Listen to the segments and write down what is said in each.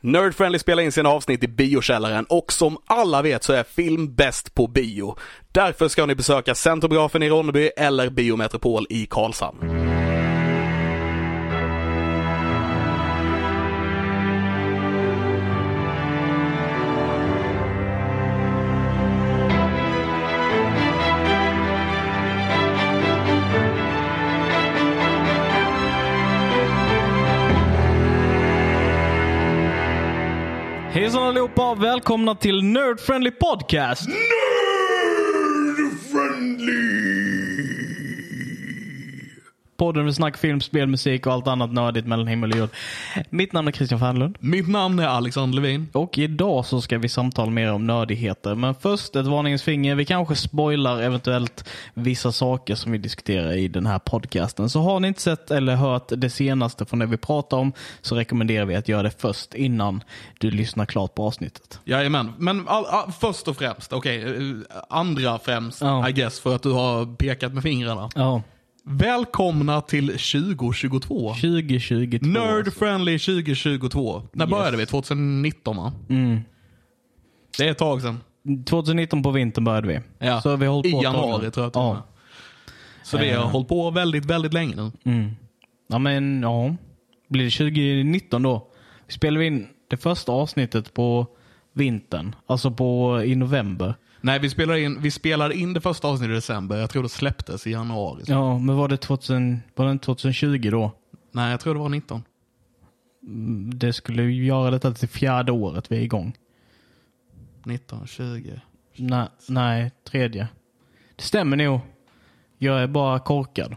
Nerd Friendly spelar in sina avsnitt i biokällaren och som alla vet så är film bäst på bio. Därför ska ni besöka Centrobiografen i Ronneby eller Biometropol i Karlshamn. Hejsan allihopa! Välkomna till Nerd Friendly Podcast! Podden med snack, film, spel, musik och allt annat nördigt mellan himmel och jord. Mitt namn är Christian Fernlund Mitt namn är Alexander Levin. och idag så ska vi samtala mer om nördigheter. Men först ett varningens finger. Vi kanske spoilar eventuellt vissa saker som vi diskuterar i den här podcasten. Så har ni inte sett eller hört det senaste från det vi pratar om så rekommenderar vi att göra det först innan du lyssnar klart på avsnittet. Jajamän, men all, all, först och främst, okej, eh, andra främst Ja. I guess för att du har pekat med fingrarna. Ja. Välkomna till 2022. 2022. Nerd Friendly 2022. När började vi? 2019 va? Det är ett tag sedan. 2019 på vintern började vi. Ja. Så vi har hållit på I ett tag januari nu. tror jag till och med. Ja. Så vi har hållit på väldigt, väldigt länge nu. Mm. ja, men ja. Blir det 2019 då? Spelar vi in det första avsnittet på vintern. Alltså på, i november. Nej, vi spelade, in, vi spelade in det första avsnittet i december. Jag tror det släpptes i januari. Ja, men var det, 2000, var det inte 2020 då? Mm, Nej, jag tror det var 19. Det skulle ju göra detta till fjärde året vi är igång. 19, 20. Nej, nej tredje. Det stämmer nog. Jag är bara korkad.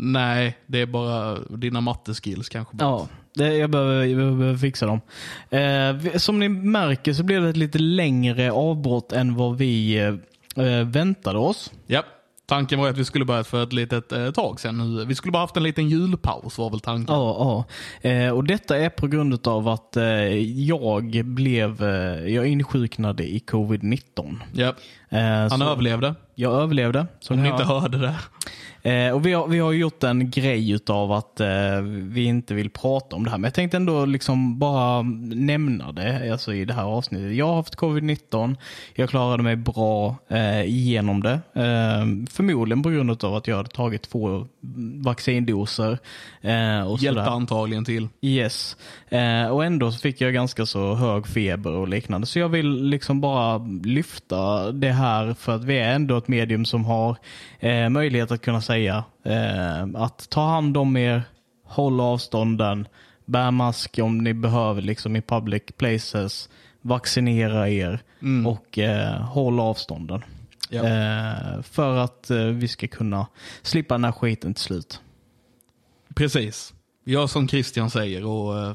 Nej, det är bara dina matteskills kanske. Ja, det, jag, behöver, jag behöver fixa dem. Eh, vi- som ni märker så blev det ett lite längre avbrott än vad vi eh, eh, väntade oss. Japp. Tanken var ju att vi skulle börja för ett litet eh, tag sedan. nu. Vi skulle bara haft en liten julpaus var väl tanken. Ja, ja. Eh, och detta är på grund av att eh, jag blev eh, jag insjuknade i covid-19. Japp. Eh, Han så överlevde. jag överlevde. Som Om ni hör. inte hörde det. Eh, och vi, har, vi har gjort en grej utav att eh, vi inte vill prata om det här. Men jag tänkte ändå liksom bara nämna det alltså i det här avsnittet. Jag har haft covid-19. Jag klarade mig bra eh, igenom det. Eh, förmodligen på grund utav att jag hade tagit två vaccindoser. Eh, och Hjälpte sådär. antagligen till. Yes. Eh, och ändå så fick jag ganska så hög feber och liknande. Så jag vill liksom bara lyfta det här för att vi är ändå ett medium som har eh, möjlighet att kunna säga eh, att ta hand om er, håll avstånden, bär mask om ni behöver liksom i public places, vaccinera er och eh, håll avstånden. Ja. Eh, för att eh, vi ska kunna slippa den här skiten till slut. Precis. Gör som Christian säger och eh,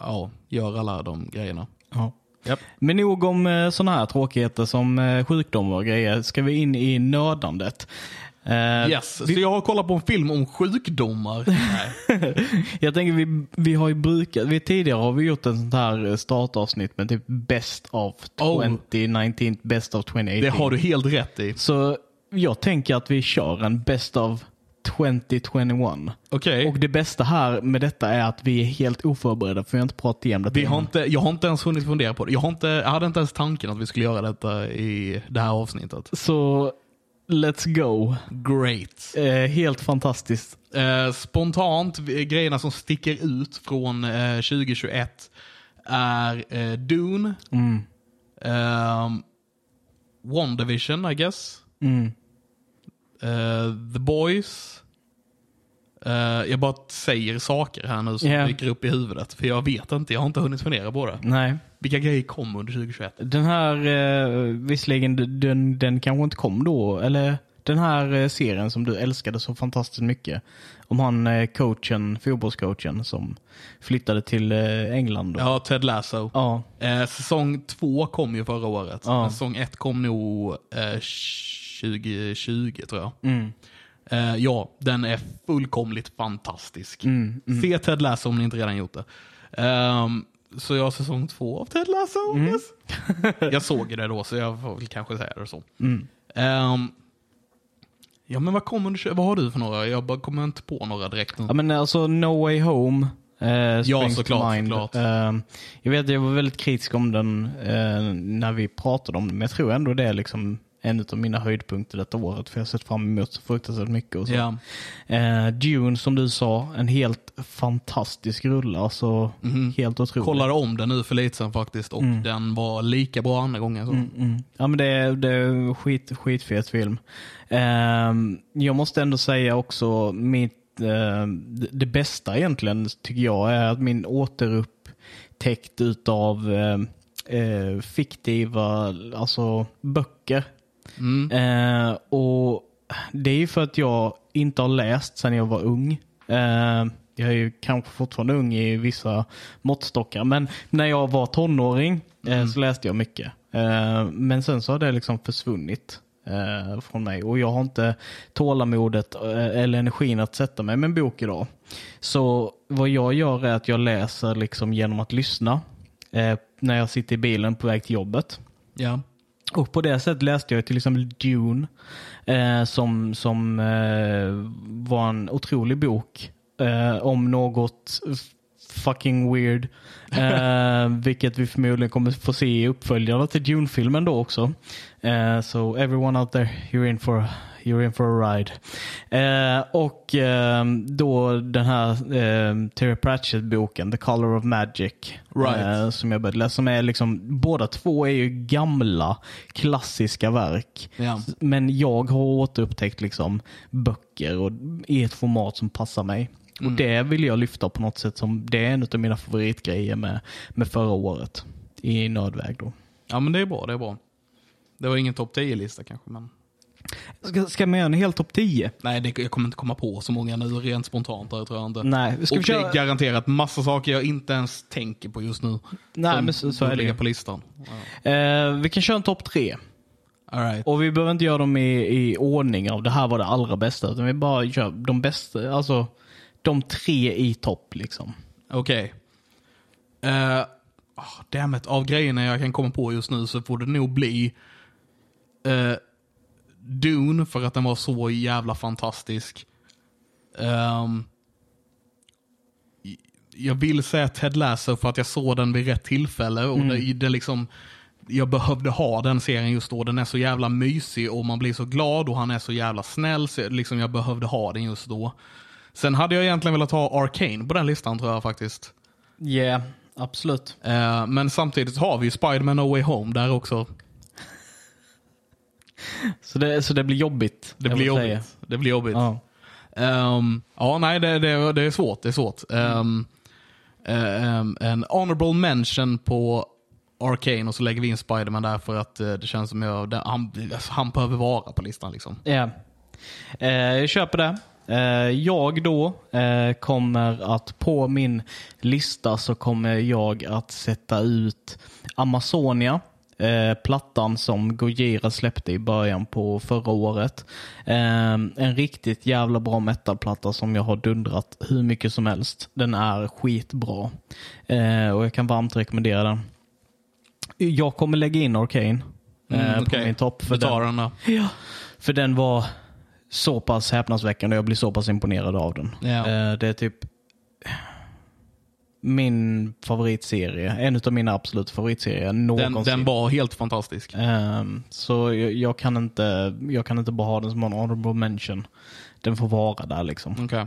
ja, gör alla de grejerna. Ja. Japp. Men nog om sådana här tråkigheter som eh, sjukdomar och grejer. Ska vi in i nördandet? Eh, Yes, så jag har kollat på en film om sjukdomar. Jag tänker vi, vi har ju brukat, vi tidigare har vi gjort en sånt här eh, startavsnitt med typ best of Oh. 2019, best of 2018. Det har du helt rätt i. Så jag tänker att vi kör en best of 2021. Okej. Och det bästa här med detta är att vi är helt oförberedda för vi har inte pratat igenom detta. Vi har innan. inte, jag har inte ens hunnit fundera på det. Jag, har inte, jag hade inte ens tanken att vi skulle göra detta i det här avsnittet. Så let's go. Great. Eh, helt fantastiskt. Eh, spontant, eh, grejerna som sticker ut från eh, 2021 är eh, Dune, Mm. ehm, WandaVision I guess, Mm. eh, The Boys. Eh, jag bara säger saker här nu som Ja. dyker upp i huvudet. För jag vet inte, jag har inte hunnit fundera på det. Nej. Vilka grejer kom under 2021? Den här, eh, visserligen d- den, den kanske inte kom då, eller den här eh, serien som du älskade så fantastiskt mycket. Om han eh, coachen, fotbollscoachen som flyttade till eh, England. Då. Ja, Ted Lasso. Ja. Eh, säsong två kom ju förra året. Ja. Men säsong ett kom nog eh, 2020 tror jag. Mm, Eh, ja, den är fullkomligt fantastisk. Mm. Se Ted Lasso om ni inte redan gjort det. Ehm, så jag har säsong två av Ted Lasso. Mm. Yes. jag såg det då så jag får väl kanske säga det så. mm. Ehm, ja men vad, kommer, du- vad har du för några? Jag bara kommer inte på några direkt nu. ja men alltså No Way Home Eh, Springs to såklart, Mind. såklart. Eh, jag vet att jag var väldigt kritisk om den eh, när vi pratade om den, men jag tror ändå det är liksom en av mina höjdpunkter detta året. För jag har sett fram emot så fruktansvärt mycket. Och så. Ja. Eh, Dune som du sa, en helt fantastisk rulle. Alltså, Helt otrolig. Kollade om den nu för lite sedan faktiskt och den var lika bra andra gången. Så. Mm. Ja, men det är, det är en skit, skitfet film. Ehm, jag måste ändå säga också mitt, ehm, det- det bästa egentligen tycker jag är att min återupptäckt utav ehm, eh, fiktiva alltså böcker. Mm. Eh, och Det är ju för att jag inte har läst sedan jag var ung. Eh, jag är ju kanske fortfarande ung i vissa måttstockar, men när jag var tonåring eh, så läste jag mycket. Eh, men sen så har det liksom försvunnit eh, från mig och jag har inte tålamodet eh, eller energin att sätta mig med en bok idag. Så vad jag gör är att jag läser liksom genom att lyssna eh, när jag sitter i bilen på väg till jobbet. Ja. Och på det sättet läste jag till exempel Dune eh, som, som eh, var en otrolig bok eh, om något f- fucking weird. Eh, vilket vi förmodligen kommer få se i uppföljarna till Dune-filmen då också. Eh, so everyone out there, you're in for, you're in for a ride. Eh, och eh, då den här eh, Terry Pratchett-boken, The Color of Magic. Right. Eh, som jag började läsa. Som är liksom, båda två är ju gamla klassiska verk. Ja. Men jag har återupptäckt liksom böcker och, i ett format som passar mig. Och Det vill jag lyfta på något sätt. som Det är en av mina favoritgrejer med, med förra året. I nödväg då. ja, men det är bra. Det är bra. Det var ingen topp 10-lista kanske, men Ska, ska man göra en hel topp 10? nej, det, jag kommer inte komma på så många nu rent spontant. Där, tror jag inte. Nej, ska och vi det köra? är garanterat massa saker jag inte ens tänker på just nu. Nej, som men så, så är borde det ligga ju. på listan. Ja. eh, Vi kan köra en topp 3. All right. Och vi behöver inte göra dem i, i ordning av det här var det allra bästa. Utan vi bara gör de bästa, alltså de tre i topp liksom. Okej. Okay. damn it. Av grejerna jag kan komma på just nu så får det nog bli eh, Dune för att den var så jävla fantastisk. Ehm, j- jag vill säga Ted Lasso för att jag såg den vid rätt tillfälle. Och Mm. det, det liksom, jag behövde ha den serien just då. Den är så jävla mysig och man blir så glad och han är så jävla snäll. Så liksom jag behövde ha den just då. Sen hade jag egentligen velat ha Arcane på den listan tror jag faktiskt. Ja, yeah, absolut. Eh, men samtidigt har vi ju Spider-Man No Way Home där också. Så det, så det blir jobbigt. Det jag blir vill säga. jobbigt. Det blir jobbigt. Ja. Ehm, ja, nej, det, det, det är svårt. Det är svårt. Ehm, ehm, en honorable mention på Arcane och så lägger vi in Spider-Man där för att eh, det känns som jag, det, han, alltså, han behöver vara på listan. liksom. Ja. Eh, jag köper det. Eh, jag då eh, kommer att på min lista så kommer jag att sätta ut Amazonia. Eh, plattan som Gojira släppte i början på förra året. Eh, en riktigt jävla bra metalplatta som jag har dundrat hur mycket som helst. Den är skitbra. Eh, och jag kan varmt rekommendera den. Jag kommer lägga in Arcane eh, på Mm, okej. min topp. Vi tar den där. Ja. För den var så pass häpnadsväckande och jag blev så pass imponerad av den. Ja. Eh, Det är typ min favoritserie. En av mina absolut favoritserier någonsin. Den, den var helt fantastisk. Ehm, så jag, jag, kan inte, jag kan inte bara ha den som en honorable mention. Den får vara där liksom. Okej.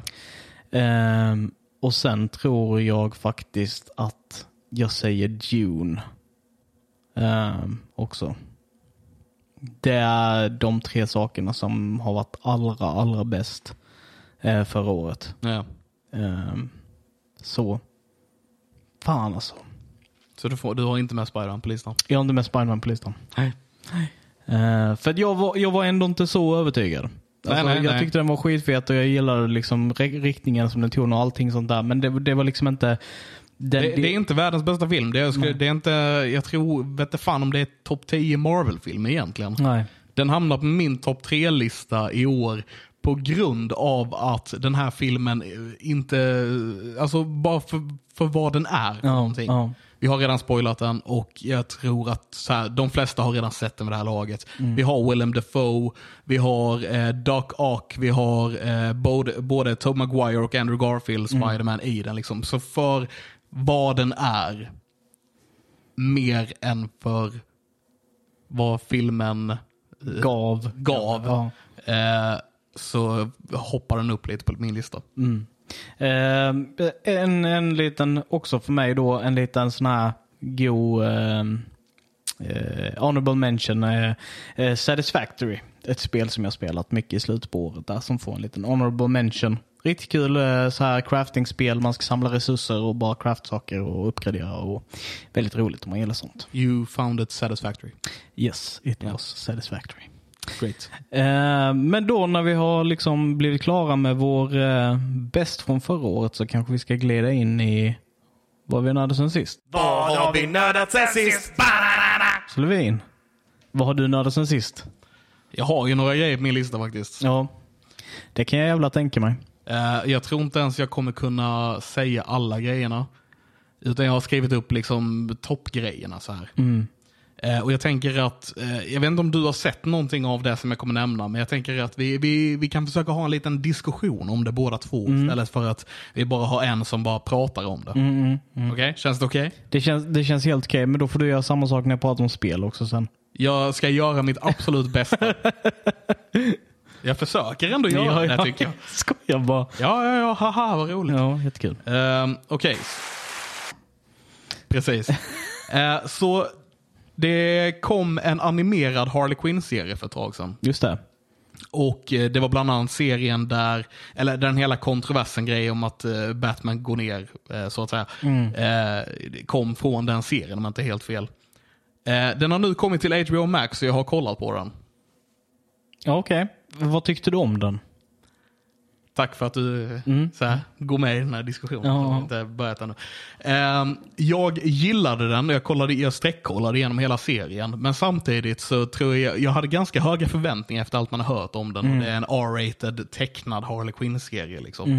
Ehm, och sen tror jag faktiskt att jag säger Dune ehm, också. Det är de tre sakerna som har varit allra, allra bäst eh, förra året. Ja. Ehm, så. Fan alltså. Så du, får, du har inte med Spider-Man på listan? Jag har inte med Spiderman på listan. Nej. Eh, för att jag var, jag var ändå inte så övertygad. Alltså, nej, jag nej. tyckte den var skitfet och jag gillade liksom re- riktningen som den tog och allting sånt där. Men det, det var liksom inte... Den, Det, det är inte världens bästa film. Det, är- jag skulle, det är inte, jag tror, vet inte fan om det är topp 10 Marvel-film egentligen. Nej. Den hamnar på min topp 3-lista i år på grund av att den här filmen eh, inte, alltså bara för, för vad den är. Ja, någonting. ja. Vi har redan spoilat den och jag tror att så här, de flesta har redan sett den vid det här laget. Mm. Vi har Willem Dafoe, vi har eh, Doc Ock, vi har eh, både, både Tobey Maguire och Andrew Garfield, Mm. Spiderman i den. Liksom. Så för vad den är, mer än för vad filmen eh, Gav. gav. Ja. Eh, så hoppar den upp lite på min lista. Eh, Mm. en, en liten, också för mig då, en liten sån här god eh, eh, honorable mention. Eh, eh, Satisfactory. Ett spel som jag spelat mycket i slutet på året där som får en liten honorable mention. Riktigt kul eh, så här crafting-spel. Man ska samla resurser och bara craft saker och uppgradera. Och väldigt roligt om man gillar sånt. You found it satisfactory. Yes, it was satisfactory. Great. Eh, men då när vi har liksom blivit klara med vår eh, bäst från förra året så kanske vi ska glida in i vad vi nördade sen sist. Vad har vi nördat sen sist? Så Levin, vad har du nördat sen sist? Jag har ju några grejer på min lista faktiskt. Ja, det kan jag jävla tänka mig. Eh, jag tror inte ens jag kommer kunna säga alla grejerna. Utan jag har skrivit upp liksom toppgrejerna så här. Eh, och jag tänker att, eh, jag vet inte om du har sett någonting av det som jag kommer nämna, men jag tänker att vi, vi, vi kan försöka ha en liten diskussion om det båda två istället för att vi bara har en som bara pratar om det. Mm. Okej, känns det okej? Det känns, det känns helt okej, men då får du göra samma sak när jag pratar om spel också sen. Jag ska göra mitt absolut bästa. jag försöker ändå göra det tycker jag. skojar bara. Ja, ja, ja, haha vad roligt. Ja, jättekul. Ehm, Okej. Precis. Eh, så det kom en animerad Harley Quinn-serie för ett tag sedan. Just det. Och eh, det var bland annat serien där, eller den hela kontroversen grej om att eh, Batman går ner, eh, så att säga, eh, det kom från den serien om jag inte är helt fel. Eh, den har nu kommit till HBO Max och jag har kollat på den. Ja, okej. Vad tyckte du om den? Tack för att du så här, går med i den här diskussionen. Ja. som Inte börjat ännu. Ehm, jag gillade den och jag, kollade, jag sträckkollade igenom hela serien. Men samtidigt så tror jag, jag hade ganska höga förväntningar efter allt man har hört om den. Och det är en R-rated tecknad Harley Quinn-serie. Liksom.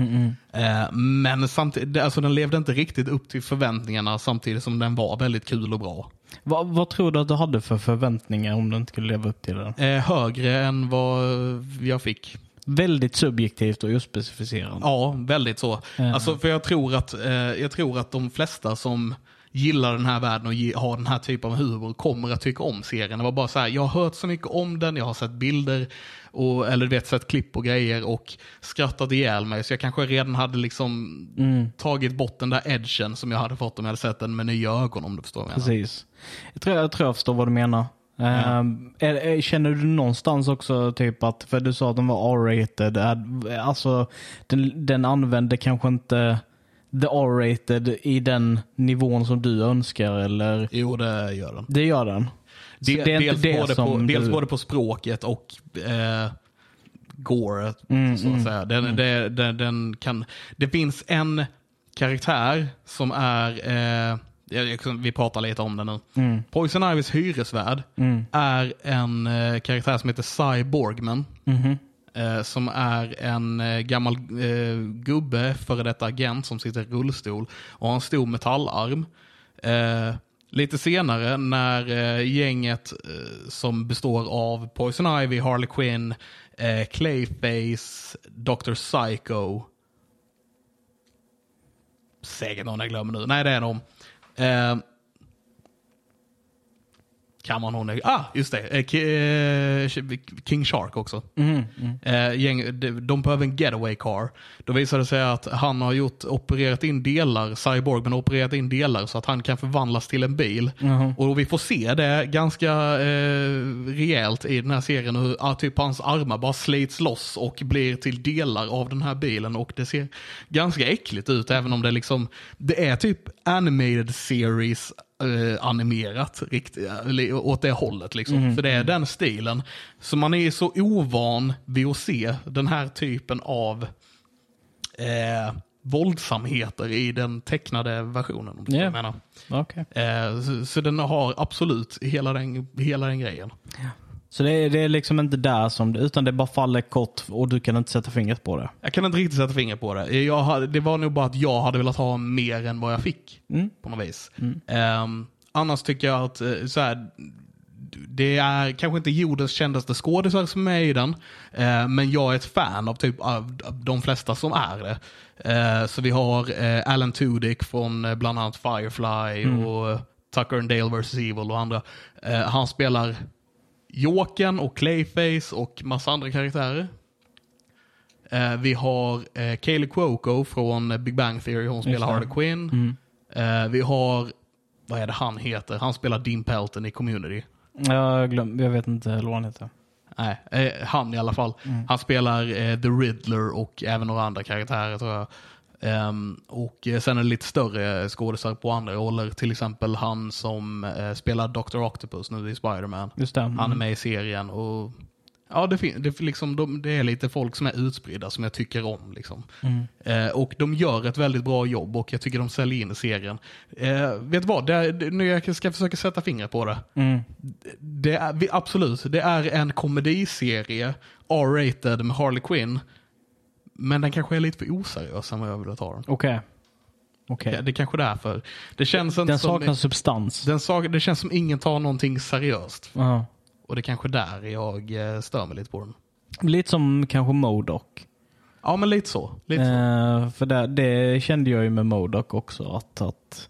Ehm, men samtidigt, alltså, den levde inte riktigt upp till förväntningarna samtidigt som den var väldigt kul och bra. Vad, vad tror du att du hade för förväntningar om du inte skulle leva upp till den? Ehm, högre än vad jag fick. Väldigt subjektivt och ospecificerat. Ja, väldigt så. Alltså, för jag tror, att, eh, jag tror att de flesta som gillar den här världen och ge, har den här typen av humor kommer att tycka om serien. Det var bara så här, jag har hört så mycket om den, jag har sett bilder, och, eller du vet, sett klipp och grejer och skrattat ihjäl mig. Så jag kanske redan hade liksom tagit bort den där edgen som jag hade fått om jag hade sett den med nya ögon om du förstår vad jag menar. Precis. Jag tror jag, tror jag förstår vad du menar. Ehm, är- är- känner du någonstans också typ att, för du sa att den var R-rated, är- alltså den, den använde kanske inte the R-rated i den nivån som du önskar eller? Jo, det gör den. Det gör den. Så Del, dels både på, dels både på språket och eh, gore, så att säga. Den, det, den, den kan, det finns en karaktär som är, eh, jag- jag- vi pratar lite om den nu. Poison Ivys hyresvärd är en eh, karaktär som heter Cy Borgman. Eh, som är en eh, gammal eh, gubbe, före detta agent som sitter i rullstol och har en stor metallarm. Eh, lite senare när eh, gänget eh, som består av Poison Ivy, Harley Quinn, eh, Clayface, Dr. Psycho. Säkert någon jag glömmer nu. Nej, det är de. Eh, kan man hon... Ah, just det. Eh, Ki- eh, King Shark också. Eh, gäng, de, de behöver en getaway car. Då visar det sig att han har gjort, opererat in delar, Cyborg, men opererat in delar så att han kan förvandlas till en bil. Och vi får se det ganska eh, rejält i den här serien hur ah, typ hans armar bara slits loss och blir till delar av den här bilen och det ser ganska äckligt ut även om det liksom, det är typ animated series eh, animerat riktigt, eller åt det hållet. Liksom. För det är den stilen. Så man är så ovan vid att se den här typen av eh, våldsamheter i den tecknade versionen. Om du Ja. yeah. menar. Okej. Eh, så, så den har absolut hela den, hela den grejen. Så det är, det är liksom inte där som det, utan det bara faller kort och du kan inte sätta fingret på det. Jag kan inte riktigt sätta fingret på det. Jag hade, det var nog bara att jag hade velat ha mer än vad jag fick. Mm. På något vis. Ehm, annars tycker jag att eh, så här, det är kanske inte jordens kändaste skådisar som är med i den. eh, men jag är ett fan av typ av, av de flesta som är det. Eh, så vi har eh, Alan Tudyk från eh, bland annat Firefly och eh, Tucker and Dale vs. Evil och andra. Eh, han spelar Jokern och Clayface och massa andra karaktärer. Eh, vi har eh, Kaylee Cuoco från eh, Big Bang Theory, hon spelar Harley Quinn. Eh, vi har, vad är det han heter? Han spelar Dean Pelton i Community. Jag, glöm, jag vet inte vad han heter. Nej, eh, han i alla fall. Han spelar eh, The Riddler och även några andra karaktärer tror jag. Ehm, och eh, sen är det lite större skådespelare på andra roller. Till exempel han som eh, spelar Dr. Octopus nu i Spider-Man. Just det. Han är med i serien och ja, det, fin- det, liksom, de, det är lite folk som är utspridda som jag tycker om. Liksom. Mm. Eh, och de gör ett väldigt bra jobb och jag tycker de säljer in serien. Eh, vet du vad, det är, det- nu jag ska försöka sätta fingret på det. Mm. det är, vi, absolut, det är en komediserie, R-rated med Harley Quinn. Men den kanske är lite för oseriös än vad jag ville ta den. Okej. Okej. Det, det är kanske är därför. Det känns inte Den som, saknar substans. den sak, det känns som ingen tar någonting seriöst. Ja. Och det är kanske där jag eh, stör mig lite på den. Lite som kanske Modok. Ja, men lite så. Lite så. Eh, för det, det kände jag ju med Modok också. Att, att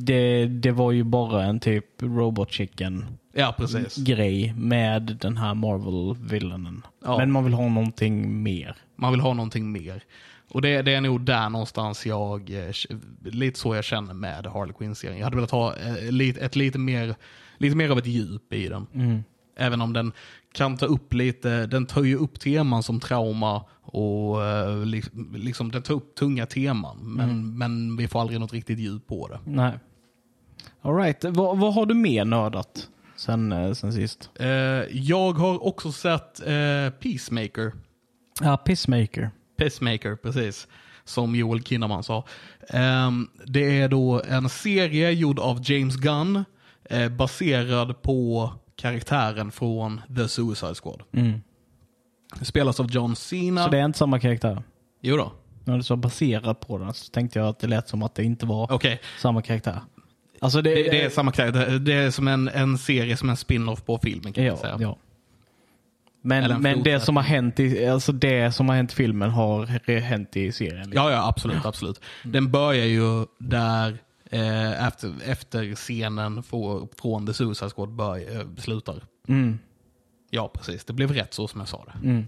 det, det var ju bara en typ Robot Chicken Ja, precis. grej med den här Marvel-villainen. Ja. Men man vill ha någonting mer. Man vill ha någonting mer. Och det, det är nog där någonstans jag, eh, lite så jag känner med Harley Quinn-serien. Jag hade velat ha eh, lite, ett lite mer, lite mer av ett djup i den. Även om den kan ta upp lite, den tar ju upp teman som trauma och eh, li- liksom, den tar upp tunga teman. Men, men vi får aldrig något riktigt djup på det. Nej. Alright, vad, vad har du mer nördat sen, eh, sen sist? Eh, jag har också sett eh, Peacemaker. Ja, Pissmaker. Pacemaker, precis. Som Joel Kinnaman sa. Ehm, det är då en serie gjord av James Gunn eh, baserad på karaktären från The Suicide Squad. Spelas av John Cena. Mm. Så det är inte samma karaktär? Jo då. När du sa baserat på den så tänkte jag att det lät som att det inte var Okej. samma karaktär. Alltså det, Det, det är samma karaktär. Det är som en, en serie, som en spin-off på filmen kan man Ja, säga. ja. Eller Men, men en det fortsättning. som har hänt i alltså det som har hänt i filmen har re- hänt i serien. liksom. Ja, ja, absolut. absolut. Den börjar ju där eh, efter, efter scenen få, från The Suicide Squad bör, eh, slutar. Ja, precis. Det blev rätt så som jag sa det.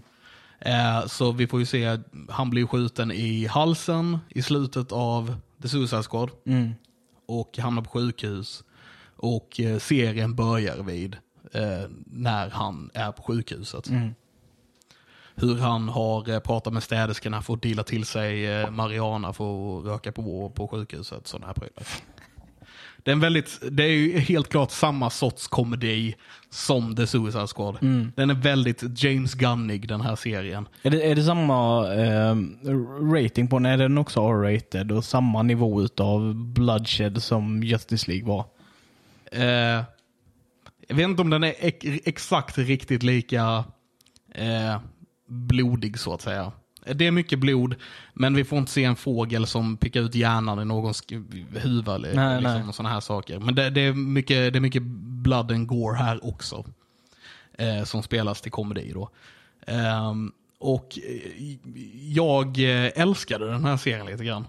Eh, så vi får ju se, han blir skjuten i halsen i slutet av The Suicide Squad. Och hamnar på sjukhus. Och eh, serien börjar vid eh, när han är på sjukhuset hur han har eh, pratat med städerskorna för att dela till sig eh, Mariana för att röka på på sjukhuset. Sådana här prylar. Det är, en väldigt, det är ju helt klart samma sorts komedi som The Suicide Squad. Den är väldigt James Gunnig den här serien. Är, det, är det samma ehm, rating på den? Är den också R-rated och samma nivå utav bloodshed som Justice League var? Eh, jag vet inte om den är ex- exakt riktigt lika eh, blodig så att säga. Det är mycket blod, men vi får inte se en fågel som pickar ut hjärnan i någons sk- huvud. Eller, Nej, liksom, nej. och såna här saker. Men det, det, är mycket, det är mycket blood and gore här också. Eh, som spelas till komedi då. Ehm, och eh, jag eh, älskade den här serien lite grann.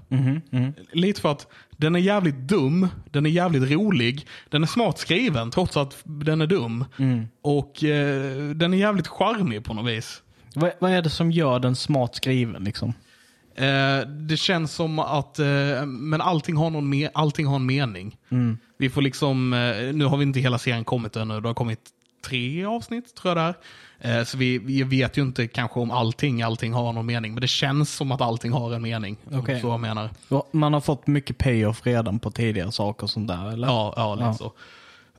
Lite för att den är jävligt dum, den är jävligt rolig, den är smart skriven trots att den är dum. Och eh, den är jävligt charmig på något vis. Vad, vad är det som gör den smart skriven liksom? Eh, det känns som att eh, men allting, har någon me- allting har en mening. Vi får liksom, eh, nu har vi inte hela serien kommit ännu, det har kommit tre avsnitt tror jag där. Eh, så vi, vi vet ju inte kanske om allting, allting har någon mening. Men det känns som att allting har en mening. Okej. Så jag menar. Ja, Man har fått mycket payoff redan på tidigare saker och sånt där eller? Ja, ja lite Ja. så.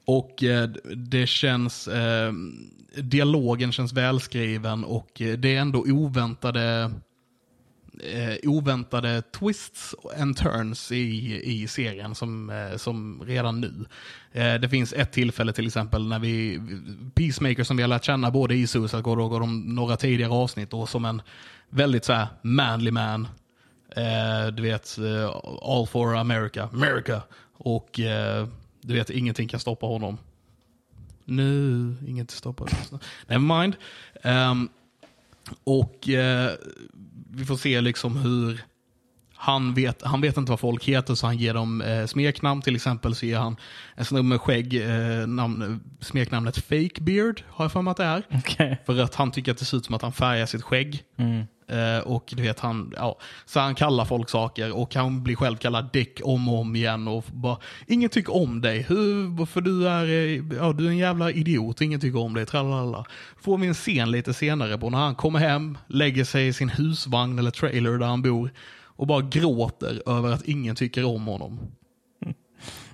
Och eh, det känns, eh, dialogen känns välskriven och eh, det är ändå oväntade eh, oväntade twists and turns i, i serien som, eh, som redan nu. Eh, det finns ett tillfälle till exempel när vi, Peacemaker som vi har lärt känna både i Suicide Squad och de några tidigare avsnitt och som en väldigt så här manly man. Eh, du vet, eh, all for America, America. Och eh, du vet, ingenting kan stoppa honom. Nu, inget stoppar oss. Never mind. Ehm, och eh, vi får se liksom hur han vet, han vet inte vad folk heter så han ger dem eh, smeknamn. Till exempel så ger han en snubbe med skägg eh, namn, smeknamnet Fake Beard, har jag för mig att det är. Okej. För att han tycker att det ser ut som att han färgar sitt skägg. Eh, och du vet, han, ja, så han kallar folk saker och han blir själv kallad Dick om och om igen. Och bara, ingen tycker om dig, Hur, för du är, eh, ja, du är en jävla idiot, ingen tycker om dig. Tralalala. Får vi en scen lite senare på när han kommer hem, lägger sig i sin husvagn eller trailer där han bor och bara gråter över att ingen tycker om honom.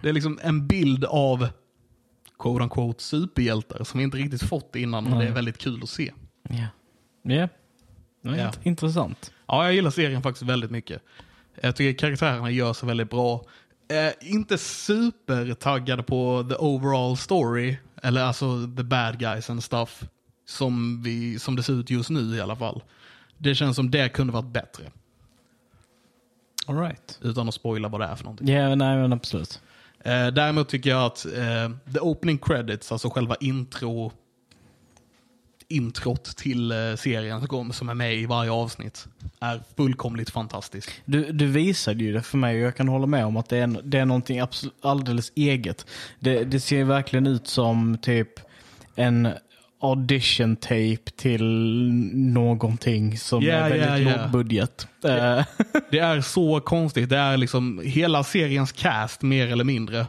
Det är liksom en bild av quote unquote superhjältar som vi inte riktigt fått innan och det är väldigt kul att se. Ja. Ja. Det var Ja. int- Intressant. Ja, jag gillar serien faktiskt väldigt mycket. Jag tycker karaktärerna gör sig väldigt bra. Eh, inte supertaggad på the overall story, eller alltså the bad guys and stuff, som, vi, som det ser ut just nu i alla fall. Det känns som det kunde varit bättre, All right. utan att spoila vad det är för någonting. Ja, nej men absolut. Eh, däremot tycker jag att eh, the opening credits, alltså själva intro introt till eh, serien som kommer- som är med i varje avsnitt, är fullkomligt fantastisk. Du, du visade ju det för mig och jag kan hålla med om att det är, en- det är någonting absolut, alldeles eget. Det, det ser verkligen ut som typ en audition tape till någonting som Ja, är väldigt ja, ja. låg budget. Eh, Det är så konstigt. Det är liksom hela seriens cast mer eller mindre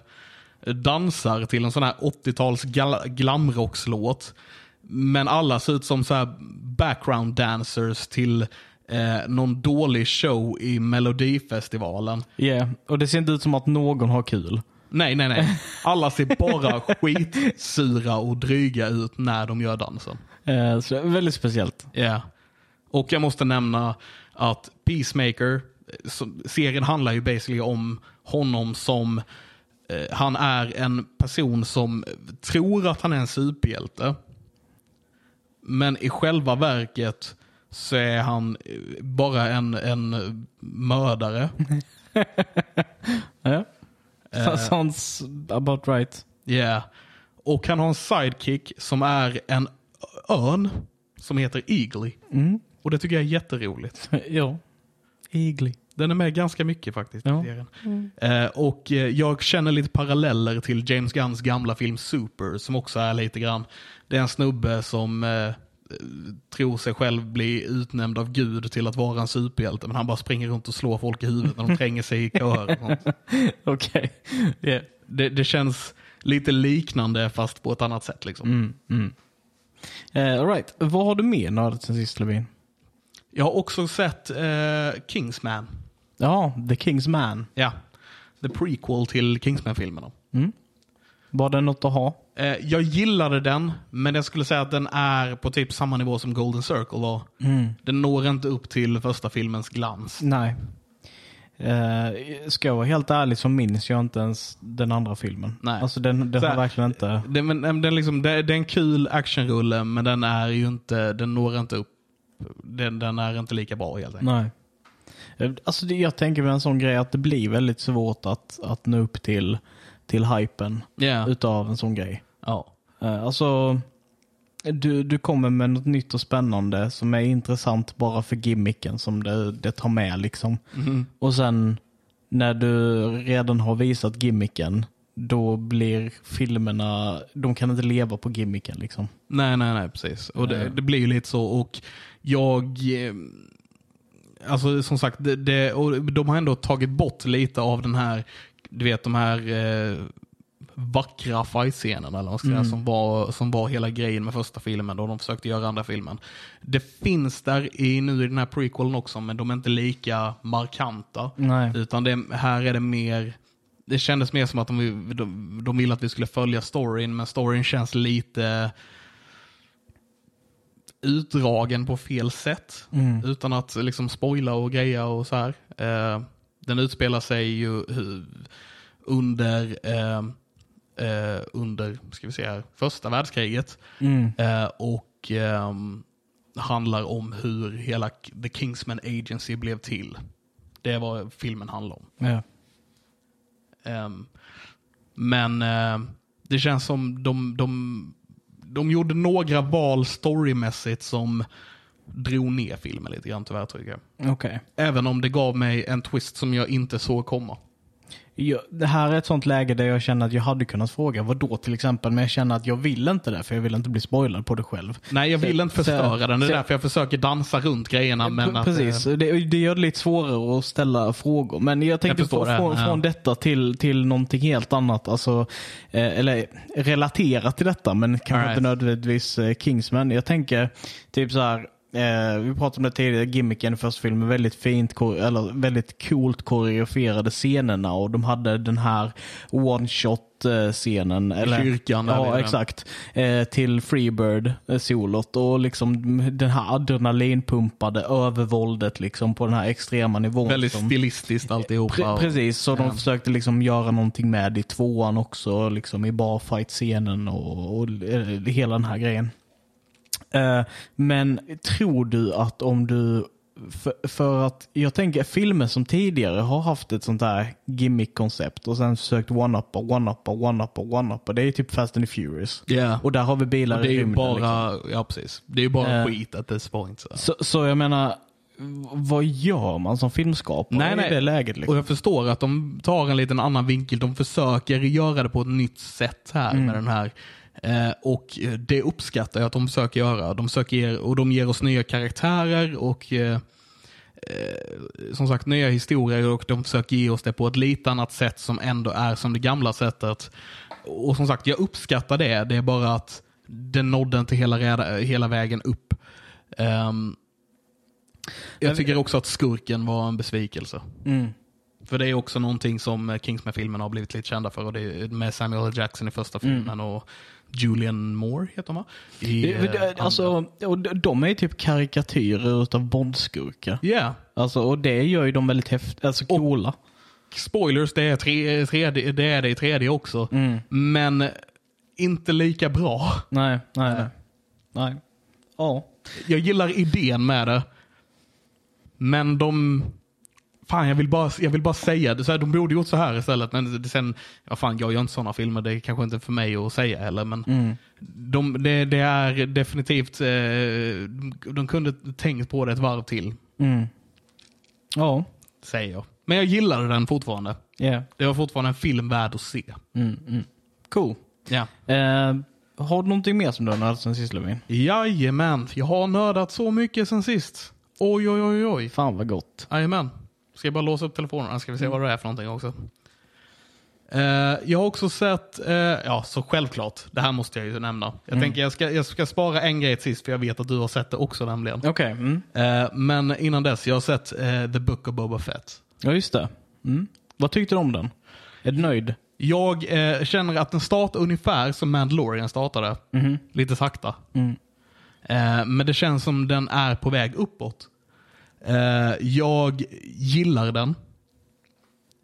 dansar till en sån här 80-tals gal- glamrockslåt. Men alla ser ut som så här background dancers till eh, någon dålig show i Melodifestivalen. Ja, och det ser inte ut som att någon har kul. Nej, nej, nej. Alla ser bara skitsura och dryga ut när de gör dansen. Eh, så det är väldigt speciellt. Ja. Och jag måste nämna att Peacemaker, eh, som- serien handlar ju basically om honom som, eh, han är en person som tror att han är en superhjälte. Men i själva verket så är han eh, bara en, en mördare. Ja. Eh. Sounds about right. Yeah. Och han har en sidekick som är en örn som heter Eagly. Mm. Och det tycker jag är jätteroligt. ja. Igli. Den är med ganska mycket faktiskt. i Ja. serien. Eh, och eh, jag känner lite paralleller till James Gunns gamla film Super som också är lite grann, det är en snubbe som eh, eh, tror sig själv bli utnämnd av Gud till att vara en superhjälte men han bara springer runt och slår folk i huvudet när de tränger sig i köer. och sånt. Okej. Yeah. Det, det känns lite liknande fast på ett annat sätt. Liksom. Mm, Eh, all right. Vad har du med nördat sen sist Levin? Jag har också sett eh, Kingsman. Ja, The King's Man. Ja, the prequel till Kingsman-filmerna. Mm. Var det något att ha? Eh, jag gillade den, men jag skulle säga att den är på typ samma nivå som Golden Circle. Då. Den når inte upp till första filmens glans. Mm. Nej. Eh, ska jag vara helt ärlig så minns jag inte ens den andra filmen. Nej. Alltså den, den Så har här- verkligen inte... Det, men, men den liksom, det, det är en kul actionrulle, men den är ju inte, den når inte upp. Den, den är inte lika bra helt enkelt. Nej. Eh, Alltså det, jag tänker med en sån grej att det blir väldigt svårt att, att nå upp till, till hypen Ja. utav en sån grej. Ja. Eh, Alltså, du, du kommer med något nytt och spännande som är intressant bara för gimmicken som det, det tar med. liksom. Och sen när du redan har visat gimmicken, då blir filmerna, de kan inte leva på gimmicken. liksom. Nej, nej, nej, precis. Och det, det blir ju lite så. Och jag... eh, Alltså som sagt, det, det, och de har ändå tagit bort lite av den här, du vet de här eh, vackra fight-scenerna eller vad man ska säga, som, var, som var hela grejen med första filmen då de försökte göra andra filmen. Det finns där i, nu i den här prequelen också, men de är inte lika markanta. Mm. Nej. Utan det, här är det mer, det kändes mer som att de, de, de ville att vi skulle följa storyn, men storyn känns lite utdragen på fel sätt. Utan att liksom spoila och greja och så här. Eh, den utspelar sig ju eh, under, eh, eh, under ska vi se här, första världskriget. Eh, och ehm, handlar om hur hela K- The Kingsman Agency blev till. Det är vad filmen handlar om. Ja. Ehm, men eh, det känns som de, de, de gjorde några val storymässigt som drog ner filmen lite grann tyvärr tycker jag. Okej. Även om det gav mig en twist som jag inte såg komma. Jag, det här är ett sånt läge där jag känner att jag hade kunnat fråga vad då till exempel, men jag känner att jag vill inte det för jag vill inte bli spoilad på det själv. Nej, jag vill inte så- förstöra den. Det är så- därför jag försöker dansa runt grejerna. Men att, Precis, eh, det, det gör det lite svårare att ställa frågor. Men jag tänkte Jag förstår få- det, från, ja. från detta till, till någonting helt annat. Alltså, eh, eller relaterat till detta, men kanske Alright. inte nödvändigtvis eh, Kingsman. Jag tänker typ så här. Eh, vi pratade om det tidigare, gimmicken i första filmen, väldigt fint, ko- eller väldigt coolt koreograferade scenerna och de hade den här one shot eh, scenen. Eller, kyrkan där Ja, nere. exakt exakt. Eh, till Freebird, eh, solot och liksom den här adrenalinpumpade övervåldet liksom på den här extrema nivån. Väldigt som, stilistiskt alltihopa. Pre- och- precis, så de försökte liksom göra någonting med i tvåan också, liksom i barfight-scenen och, och eh, hela den här grejen. Eh, men tror du att om du... För, för att jag tänker filmer som tidigare har haft ett sånt där gimmick-koncept och sen försökt one-uppa, one-uppa, one-uppa, one-uppa. Det är ju typ Fast and the Furious. Ja. Och där har vi bilar Och det är i ju rymden. liksom. bara, ja, precis. Det är ju bara Eh. skit att det var inte så. så, så jag menar, v- vad gör man som filmskapare Nej, i nej. det läget? Liksom? Och jag förstår att de tar en liten annan vinkel. De försöker göra det på ett nytt sätt här med den här. Eh, och eh, det uppskattar jag att de försöker göra. De försöker ge, och de ger oss nya karaktärer och eh, eh, som sagt nya historier och de försöker ge oss det på ett lite annat sätt som ändå är som det gamla sättet. Och som sagt, jag uppskattar det. Det är bara att den nådde inte hela, reda, hela vägen upp. Ehm, jag tycker också att skurken var en besvikelse. Mm. För det är också någonting som eh, Kingsman-filmerna har blivit lite kända för. Och det är med Samuel L. Jackson i första filmen och Julian Moore heter hon va? I, Mm. Det- eh, det- Alltså, och de- de är ju typ karikatyrer utav Bondskurkar. andra. Yeah. Alltså, och det gör ju dem väldigt häftiga, alltså coola. Spoilers, det är, tre, tredje, det är det i tredje också. Mm. Men inte lika bra. Nej, nej, nej. nej. Ja. Jag gillar idén med det. Men de... Fan, jag vill bara, jag vill bara säga det. Så här, de borde gjort så här istället. Men det- sen, ja, fan, jag gör inte sådana filmer. Det är kanske inte för mig att säga heller. Men Mm. de, det, det är definitivt... Eh, de- de kunde tänkt på det ett varv till, Mm. Ja. säger jag. Men jag gillade den fortfarande. Yeah. Det var fortfarande en film värd att se. Mm, Cool. Ja. Eh, har du någonting mer som du har nördat sen sist Levin? Jajamän, jag har nördat så mycket sen sist. Oj, oj, oj, oj. Fan vad gott. Jajamän. Ska jag bara låsa upp telefonerna ska vi se vad det är för någonting också. Eh, jag har också sett, eh, ja så självklart, det här måste jag ju nämna. Jag tänker jag ska, jag ska spara en grej till sist för jag vet att du har sett det också nämligen. Okej. Mm. Eh, men innan dess, jag har sett eh, The Book of Boba Fett. Ja, just det. Mm. Vad tyckte du om den? Är du nöjd? Jag eh, känner att den startar ungefär som Mandalorian startade. Mm-hmm. Lite sakta. Mm, Eh, men det känns som den är på väg uppåt. Eh, jag gillar den.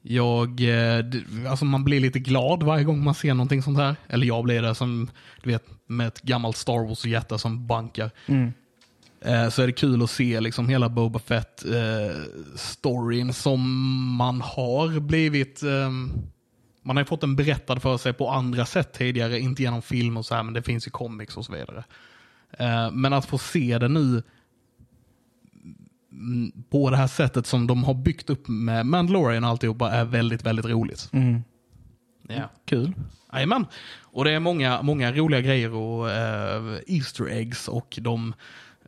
Jag, eh, d- alltså man blir lite glad varje gång man ser någonting sånt här. Eller jag blir det som, du vet, med ett gammalt Star Wars-hjärta som bankar. mm, Eh, så är det kul att se liksom hela Boba Fett-storyn som man har blivit... ehm, man har ju fått den berättad för sig på andra sätt tidigare, inte genom film och så här, men det finns ju comics och så vidare. Eh, Men att få se det nu mm, på det här sättet som de har byggt upp med Mandalorian och alltihopa är väldigt, väldigt roligt. Ja. mm. Kul. Jajamän. Och det är många, många roliga grejer och eh, Easter eggs och de...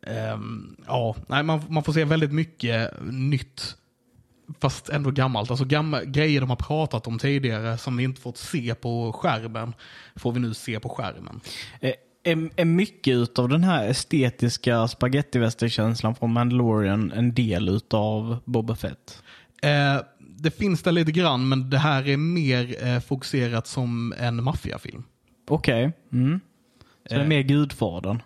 ehm, ja, nej, man, man får se väldigt mycket nytt. Fast ändå gammalt. Alltså gamla grejer de har pratat om tidigare som vi inte fått se på skärmen. Får vi nu se på skärmen. Eh, Är, är mycket utav den här estetiska spagettivästerkänslan från Mandalorian en del utav Boba Fett? Eh, det finns där lite grann men det här är mer eh, fokuserat som en maffiafilm. Okej. Mm. Så det är mer Gudfadern?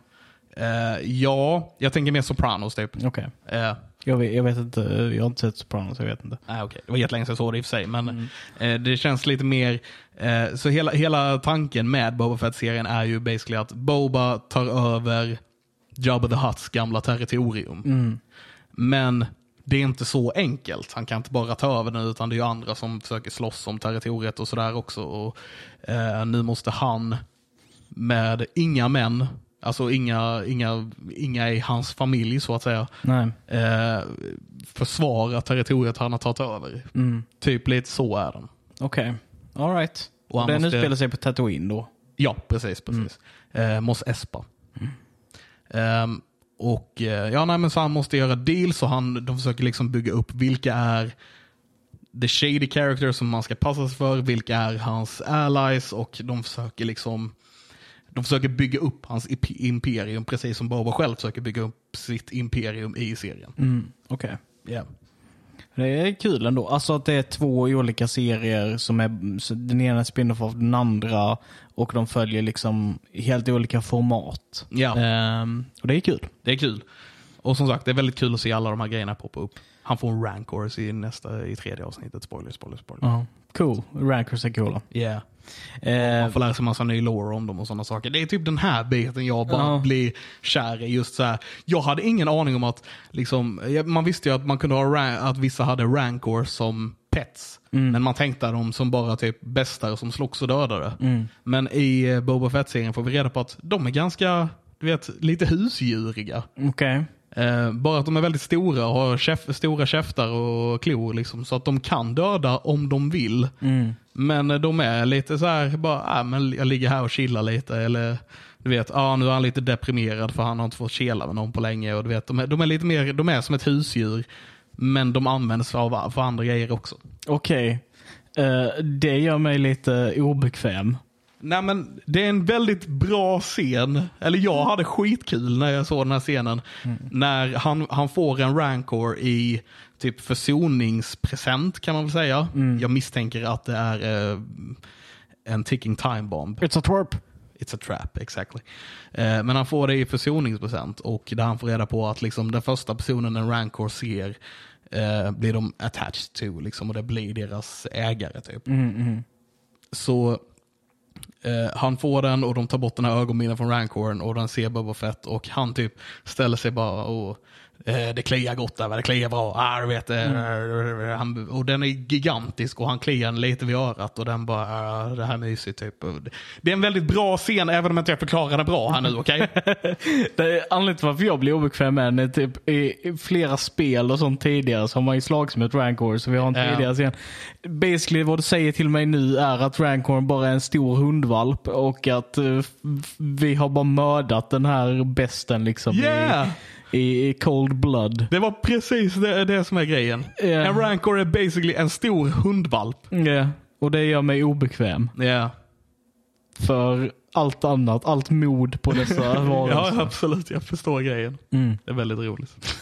Eh, ja, jag tänker mer Sopranos typ. Okej. Eh, Jag, vet, jag vet inte. Jag har inte sett Sopranos, jag vet inte. Nej, okej. Det var jättelänge sedan jag såg det i och för sig, men eh, det känns lite mer... Eh, så hela, hela tanken med Boba Fett-serien är ju basically att Boba tar över Jabba the Hutts gamla territorium. Men det är inte så enkelt. Han kan inte bara ta över den utan det är ju andra som försöker slåss om territoriet och sådär också. Och, eh, nu måste han med inga män, alltså inga, inga, inga i hans familj så att säga, Nej. eh, försvara territoriet han har tagit över. Typ lite så är den. Mm. Okej. All right. Och han den måste- utspelar sig på Tatooine då. Ja, precis. precis. Eh, Mos Espa. Ehm, och eh, ja, nej, men så han måste göra deals och han, de försöker liksom bygga upp vilka är the shady character som man ska passa sig för, vilka är hans allies och de försöker liksom de försöker bygga upp hans ip- imperium precis som Boba själv försöker bygga upp sitt imperium i serien. Mm. Okej. Yeah. Det är kul ändå. Alltså att det är två olika serier som är, så den ena är spin-off av den andra och de följer liksom helt olika format. Ja. Ehm, och det är kul. Det är kul. Och som sagt, det är väldigt kul att se alla de här grejerna poppa upp. Han får en rankor i, nästa, i tredje avsnittet. Spoiler, spoiler, spoiler. Cool. Rankers är coola. Yeah. Eh, Ehm, Man får lära sig massa ny lore om dem och sådana saker. Det är typ den här biten jag bara Ja. blir kär i. Just så här. Jag hade ingen aning om att, liksom, ja, man visste ju att man kunde ha ra- att vissa hade rankor som pets. Men man tänkte dem som bara typ bästare som slogs och dödade. Men i eh, Boba Fett-serien får vi reda på att de är ganska, du vet, lite husdjuriga. Okej. Eh, bara att de är väldigt stora och har käf- stora käftar och klor liksom, så att de kan döda om de vill. Men eh, de är lite så här, bara, äh, men jag ligger här och chillar lite. Eller du vet, ah, nu är han lite deprimerad för han har inte fått chilla med någon på länge. Och, du vet, de, är, de är lite mer, de är som ett husdjur. Men de används för, av- för andra grejer också. Okej. Eh, det gör mig lite obekväm. Nej men det är en väldigt bra scen. Eller jag hade skitkul när jag såg den här scenen. När han, han får en rancor i typ försoningspresent kan man väl säga. Jag misstänker att det är eh, en ticking time bomb. It's a twerp. It's a trap, exactly. Eh, men han får det i försoningspresent och där han får reda på att liksom, den första personen en rancor ser eh, blir de attached to liksom, och det blir deras ägare typ. Mm, Så eh, han får den och de tar bort den här ögonbindeln från rancoren och den ser Boba Fett och han typ ställer sig bara och eh, det kliar gott där, va? det kliar bra. Ah, du vet, eh, han, och den är gigantisk och han kliar den lite vid örat och den bara, ah, det här är mysigt typ. Och det- Det är en väldigt bra scen även om inte jag förklarar det bra här nu, okej? Det är anledningen till varför jag blir obekväm med den är typ i i flera spel och sånt tidigare så har man ju slagits mot Rancor så vi har en Ja. tidigare scen. Basically vad du säger till mig nu är att Rancor bara är en stor hundvalp och att eh, f- f- vi har bara mördat den här besten liksom Yeah! i, i, i cold blood. Det var precis det, det som är grejen. Ja. En rancor är basically en stor hundvalp. Ja. Och det gör mig obekväm. Yeah. För allt annat, allt mod på dessa varelser. Ja, absolut. Jag förstår grejen. Mm. Det är väldigt roligt.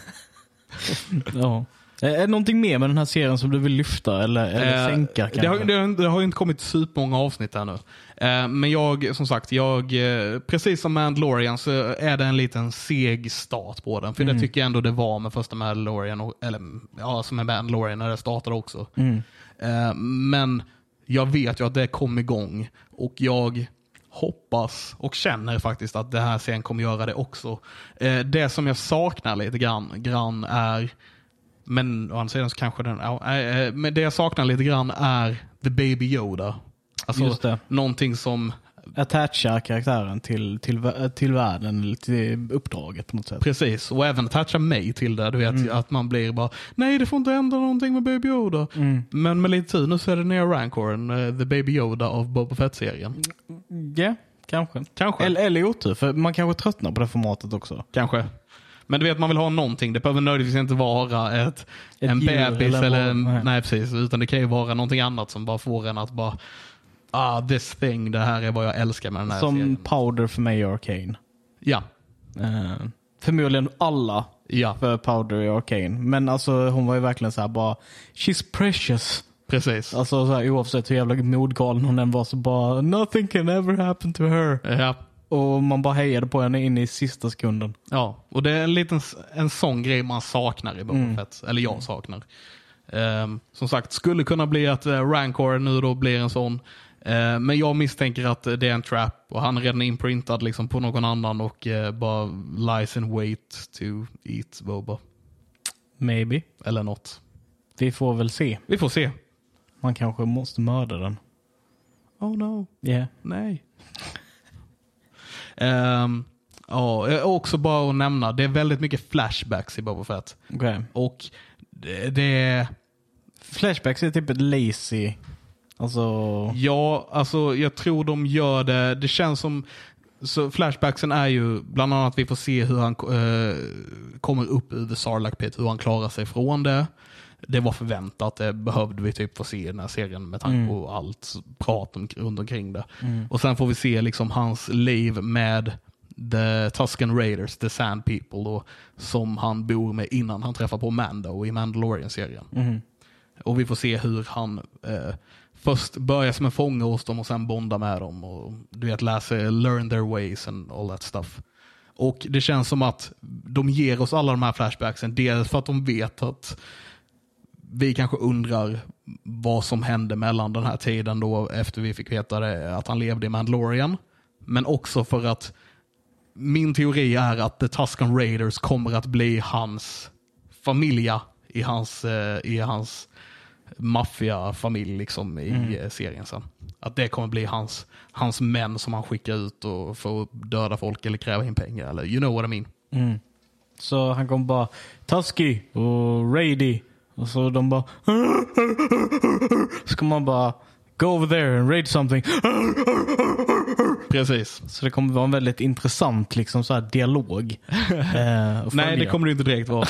Ja. Är det någonting mer med den här serien som du vill lyfta eller, eller Eh, sänka? det, har, kanske? det, har, det har ju inte kommit supermånga avsnitt här nu. Eh, men jag, som sagt, jag, eh, precis som Mandalorian så är det en liten seg start på den. För Mm. det tycker jag ändå det var med första Mandalorian, och, eller ja, som är Mandalorian när det startade också. Mm. Eh, men jag vet ju att det kom igång och jag hoppas och känner faktiskt att det här serien kommer göra det också. Eh, det som jag saknar lite grann, grann är men å andra sidan så kanske den... ja, eh, eh, men det jag saknar lite grann är The Baby Yoda. Just Alltså det. någonting som... attacha karaktären till, till, vä- till världen, eller till uppdraget på något sätt. Precis, och även attacha mig till det. Du vet Mm. att man blir bara, nej det får inte hända någonting med Baby Yoda. Men med lite tur nu så är det nya rancoren, eh, The Baby Yoda av Boba Fett-serien. Ja, kanske. Kanske. Eller, eller otur, för man kanske tröttnar på det formatet också. Kanske. Men du vet, man vill ha någonting. Det behöver nödvändigtvis inte vara ett, Ett en djur bebis eller en eller en, val- nej. nej. precis. Utan det kan ju vara någonting annat som bara får en att bara, ah this thing, det här är vad jag älskar med den här Som serien. Powder för mig i Arcane. Ja, Eh, förmodligen alla ja, för Powder i Arcane. Men alltså hon var ju verkligen så här bara, she's precious. precis. Alltså så här, oavsett hur jävla modgalen hon än var så bara, nothing can ever happen to her. Ja. Och man bara hejade på henne in i sista sekunden. Ja, och det är en liten en sån grej man saknar i Boba Fett. Eller jag saknar. Ehm, som sagt, skulle kunna bli att eh, Rancor nu då blir en sån. Eh, men jag misstänker att eh, det är en trap och han är redan inprintad liksom på någon annan och eh, bara lies in wait to eat Boba. Maybe. Eller något. Vi får väl se. Vi får se. Man kanske måste mörda den. Oh no. Yeah. Nej. Ehm, ja, eh, också bara att nämna, det är väldigt mycket flashbacks i Boba Fett. Okay. Och det, det Flashbacks är typ ett lazy... Alltså... Ja, alltså jag tror de gör det. Det känns som... Så flashbacksen är ju bland annat att vi får se hur han eh, kommer upp ur the Sarlacc pit, hur han klarar sig från det. Det var förväntat, det behövde vi typ få se i den här serien med tanke på allt prat om, runt omkring det. Och sen får vi se liksom hans liv med The Tusken Raiders, The Sand People, då, som han bor med innan han träffar på Mando i Mandalorian-serien. mhm, Och vi får se hur han eh, först börjar som en fånge hos dem och sen bondar med dem. Och du vet, läser learn their ways and all that stuff. Och det känns som att de ger oss alla de här flashbacksen. Dels för att de vet att vi kanske undrar vad som hände mellan den här tiden då efter vi fick veta det, att han levde i Mandalorian. Men också för att min teori är att The Tusken Raiders kommer att bli hans familja i hans, eh, i hans maffiafamilj liksom i eh, serien sen. Att det kommer bli hans, hans män som han skickar ut och får döda folk eller kräva in pengar. Eller you know what I mean. mhm. Så han kom bara Tusky och Rady. Och så de bara... Ska man bara... Go over there and raid something. Precis. Så det kommer vara en väldigt intressant liksom, så här, dialog. eh, att Nej, det följa. kommer det inte direkt vara.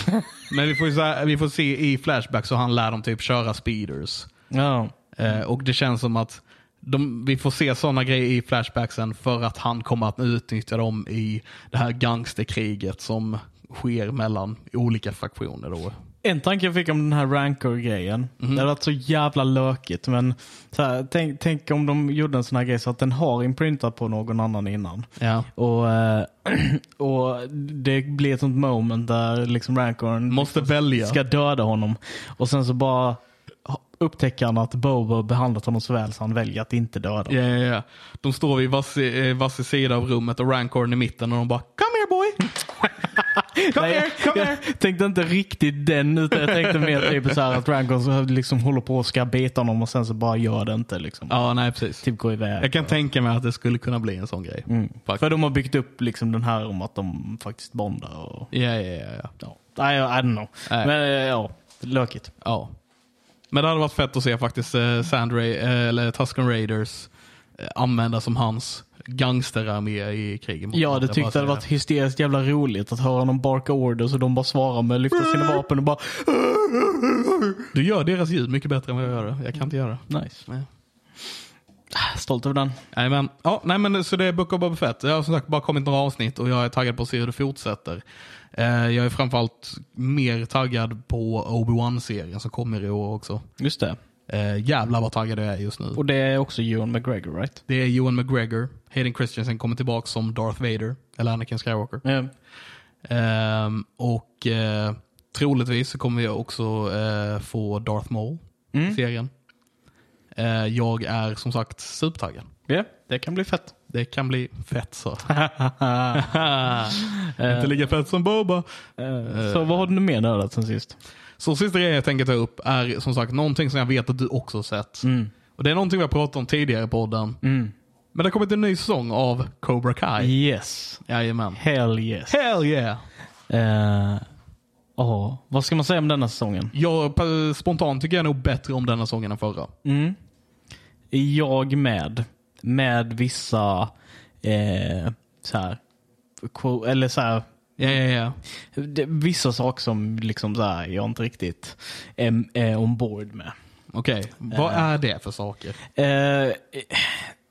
Men vi får, ju så här, vi får se i Flashback så han lär dem typ köra speeders. Ja. Eh, och det känns som att de, vi får se sådana grejer i flashbacksen för att han kommer att utnyttja dem i det här gangsterkriget som sker mellan olika fraktioner. Då. En tanke jag fick om den här rancor-grejen. Mhm. Det hade varit så jävla lökigt. Men så här, tänk, tänk om de gjorde en sån här grej så att den har imprintat på någon annan innan. Ja. Och, eh, och det blir ett sånt moment där liksom rancorn Måste välja. ska döda honom. Och sen så bara upptäcker han att Bobo har behandlat honom så väl så han väljer att inte döda. Ja, ja, ja. De står vid varsin, eh, varsin sida av rummet och Rancorn i mitten och de bara “Come here boy!” Kom Nej, here, kom jag here! tänkte inte riktigt den utan jag tänkte mer typ så här att Rancorn så liksom håller på och ska beta honom och sen så bara gör det inte. Liksom. Ja, nej precis. Mm. Typ gå iväg. Jag kan tänka mig att det skulle kunna bli en sån grej. Fuck. För de har byggt upp liksom den här om att de faktiskt bondar. Och, Ja, ja, ja, ja. ja. Nej, I, don't know. Nej. Men eh, ja, lökigt. Ja. Men det hade varit fett att se faktiskt eh, Sand Ra- eh, eller Tusken Raiders eh, använda som hans gangsterarmé i kriget. mot Ja, dem. det Jag tyckte bara jag hade säger varit hysteriskt jävla roligt att höra någon barka orders och de bara svarar med att lyfta sina vapen och bara det. Du gör deras ljud mycket bättre än vad jag gör det. Jag kan inte göra det. Nice. Nej. Ah, Stolt över den. Nej, men, ja, nej, men så det är Book of Boba Fett. Det har som sagt bara kommit några avsnitt och jag är taggad på att se hur det fortsätter. Eh, jag är framförallt mer taggad på Obi-Wan-serien som kommer i år också. Just det. Eh, jävlar vad taggad jag är just nu. Och det är också Ewan McGregor right? Det är Ewan McGregor. Hayden Christensen kommer tillbaka som Darth Vader, eller Anakin Skywalker. Ja. Ehm, och eh, troligtvis så kommer vi också eh, få Darth Maul i serien. Eh, jag är som sagt supertaggad. Ja, det kan bli fett. Det kan bli fett så. Eh. Inte lika fett som Boba. Eh, Så vad har du mer nördat sen sist? Så sista grejen jag tänker ta upp är som sagt någonting som jag vet att du också har sett. Mm. Och Det är någonting vi har pratat om tidigare i podden. Men det har kommit en ny säsong av Cobra Kai. Yes. Jajamän. Hell yes. Hell yeah! Eh, ja, vad ska man säga om denna säsongen? Jag, p- spontant tycker jag nog bättre om denna säsongen än förra. Mm. Jag med. Med vissa eh, så här, quo- eller så här, Ja, ja, ja. det, vissa saker som liksom så här, jag inte riktigt är, är ombord med. Okej, vad är det för saker? Eh,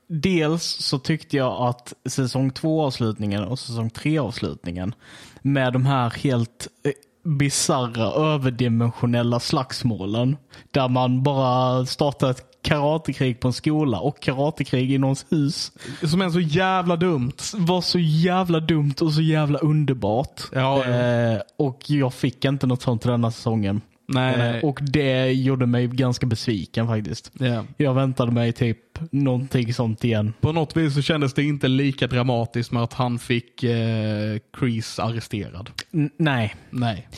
dels så tyckte jag att säsong två avslutningen och säsong tre avslutningen med de här helt eh, bizarra överdimensionella slagsmålen. Där man bara startar ett karatekrig på en skola och karatekrig i någons hus. Som är så jävla dumt. var så jävla dumt och så jävla underbart. Ja, ja. Eh, och jag fick inte något sånt denna säsongen. Eh, Nej, nej. Och det gjorde mig ganska besviken faktiskt. Ja. Jag väntade mig typ någonting sånt igen. På något vis så kändes det inte lika dramatiskt med att han fick eh, Chris arresterad. N- nej. Nej.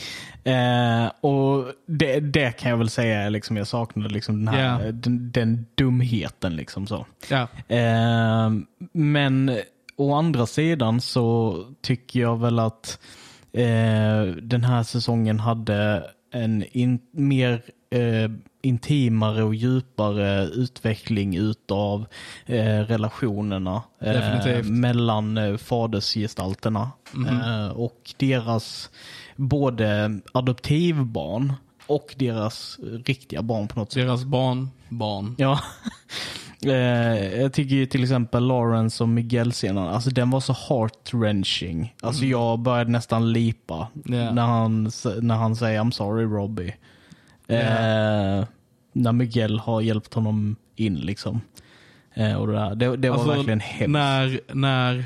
Eh, och det, det kan jag väl säga, är liksom, jag saknade liksom den, här, Ja. den, den dumheten. Liksom så. Ja. Eh, men å andra sidan så tycker jag väl att eh, den här säsongen hade en in, mer eh, intimare och djupare utveckling utav eh, relationerna eh, Definitivt. mellan eh, fadersgestalterna eh, och deras både adoptivbarn och deras riktiga barn på något sätt. Deras barn, barn. Ja. Eh, jag tycker ju till exempel Lawrence och Miguel-scenen, alltså den var så heart-wrenching. Alltså jag började nästan lipa Mm. Ja. när, han, s- när han säger I'm sorry Robbie. Eh, När Miguel har hjälpt honom in liksom. Eh, och det, där. det, det var Alltså, verkligen hemskt. När, när,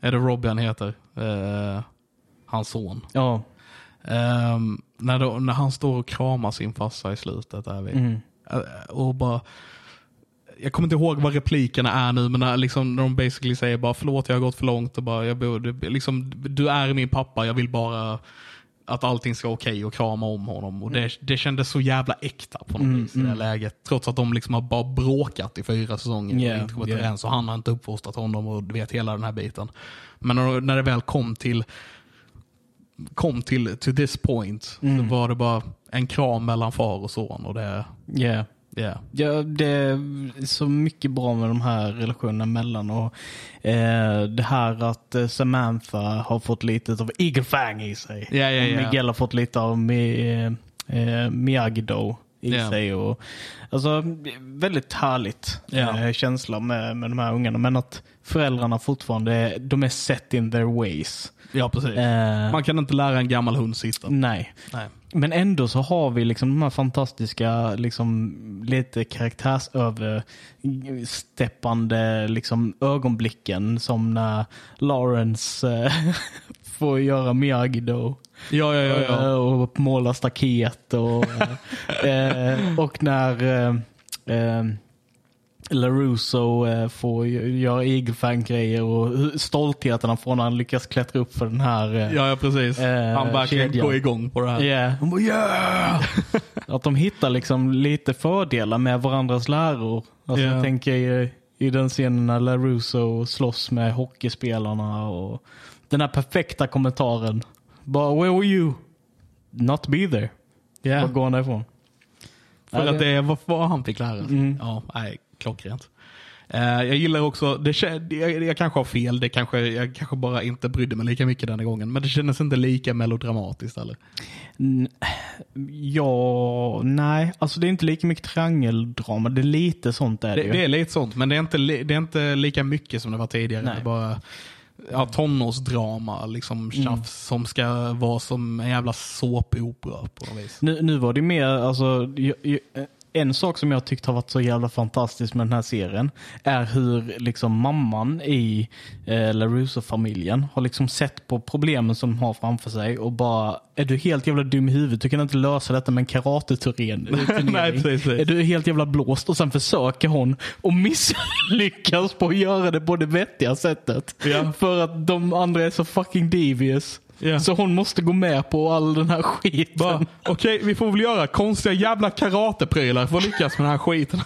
är det Robbie han heter? Eh, hans son. Ja, Ehm, när, då, när han står och kramar sin farsa i slutet. Där vi, Mm. Eh, och bara, jag kommer inte ihåg vad replikerna är nu, men när, liksom, när de basically säger bara förlåt jag har gått för långt. Och bara, jag borde, liksom, du är min pappa, jag vill bara att allting ska vara okej och krama om honom. Och det, det kändes så jävla äkta på något vis i det här läget. Trots att de liksom har bara bråkat i fyra säsonger Yeah, och inte kommit yeah. överens. Och han har inte uppfostrat honom och du vet hela den här biten. Men när, när det väl kom till kom till to this point så var det bara en kram mellan far och son. Och det, yeah. yeah. Ja, det är så mycket bra med de här relationerna mellan och eh, det här att eh, Samantha har fått lite av Eagle Fang i sig. Ja, ja, ja. Och Miguel har fått lite av Mi, eh, Miyagi-Do i Ja. sig. Och, alltså, väldigt härligt Ja. eh, känsla med, med de här ungarna. Men att föräldrarna fortfarande är, de är set in their ways. Ja, precis. Eh, Man kan inte lära en gammal hund sitta. nej. Nej. Men ändå så har vi liksom de här fantastiska, liksom, lite karaktärsöversteppande liksom, ögonblicken. Som när Lawrence eh, får göra Miyagi-Do. Ja, ja, ja. Eh, ja. Och måla staket. Och, eh, och när eh, eh, LaRusso eh, får gö- göra igelfang-grejer och hur- stoltheten han får när han lyckas klättra upp för den här eh, Ja, ja precis. Eh, Han verkligen kedjan. går igång på det här. Yeah. Hon bara yeah! att de hittar liksom lite fördelar med varandras läror. Alltså Ja. Jag tänker i, i den scenen när LaRusso slåss med hockeyspelarna och den här perfekta kommentaren. Bara where were you? Not be there. Ja. Bara går han därifrån. För Ja, att det är vad, vad han fick lära sig. Mm. Ja, nej, klockrent. Eh, jag gillar också, det, kä- jag, jag kanske har fel, det kanske, jag kanske bara inte brydde mig lika mycket denna gången. Men det kändes inte lika melodramatiskt eller? N- Ja, nej. Alltså det är inte lika mycket triangeldrama. Det är lite sånt där Det, det är lite sånt, men det är, inte, li- det är inte lika mycket som det var tidigare. Nej. Mm. Det är bara ja, tonårsdrama, liksom tjafs som ska vara som en jävla såpopera på något vis. Nu, nu var det mer, alltså, ju- ju- en sak som jag tyckt har varit så jävla fantastisk med den här serien är hur liksom mamman i eh, LaRusso-familjen har liksom sett på problemen som de har framför sig och bara, är du helt jävla dum i huvudet? Du kan inte lösa detta med en karateturnering. Nej, precis. Är du helt jävla blåst? Och sen försöker hon och misslyckas på att göra det på det vettiga sättet. Ja. För att de andra är så fucking devious. Ja. Så hon måste gå med på all den här skiten. Bara, Okej, vi får väl göra konstiga jävla karateprylar för att lyckas med den här skiten.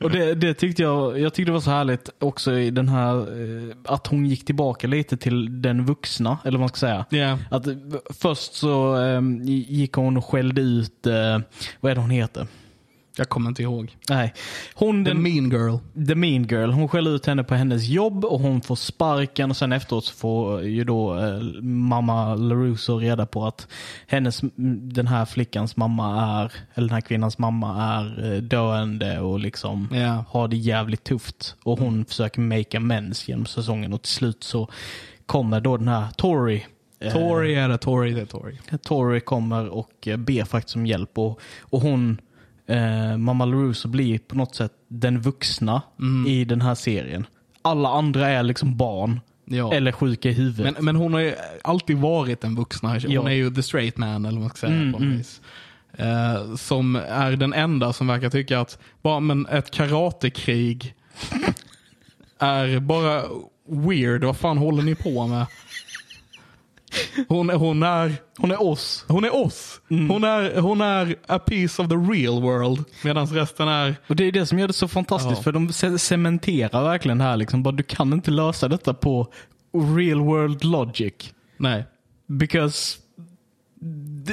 Och det, det tyckte jag, jag tyckte det var så härligt också i den här, eh, att hon gick tillbaka lite till den vuxna, eller vad man ska säga. Ja. Att eh, först så eh, gick hon och skällde ut, eh, vad är det hon heter? Jag kommer inte ihåg. Nej, hon The den, mean girl. the mean girl. Hon skäller ut henne på hennes jobb och hon får sparken och sen efteråt så får eh, ju då eh, mamma LaRusso reda på att hennes, den här flickans mamma är, eller den här kvinnans mamma är eh, döende och liksom Ja. har det jävligt tufft. Och Mm. hon försöker make amends genom säsongen och till slut så kommer då den här Tori Eh. Tori är det, Tori det är Tori. Tori kommer och eh, ber faktiskt om hjälp. Och, och hon, eh, Mamma LaRusso, blir på något sätt den vuxna Mm. i den här serien. Alla andra är liksom barn. Ja. Eller sjuka i huvudet. Men, men hon har ju alltid varit den vuxna. Hon Ja. är ju the straight man eller vad man ska säga. på något vis. Eh, som är den enda som verkar tycka att bara, men ett karatekrig är bara weird. Vad fan håller ni på med? Hon, hon, är, hon är oss. hon är oss. Mm. Hon, är, hon är a piece of the real world. Medan resten är Och det är det som gör det så fantastiskt. Ja. För de ce- cementerar verkligen det här. Liksom, bara, du kan inte lösa detta på real world logic. nej. Because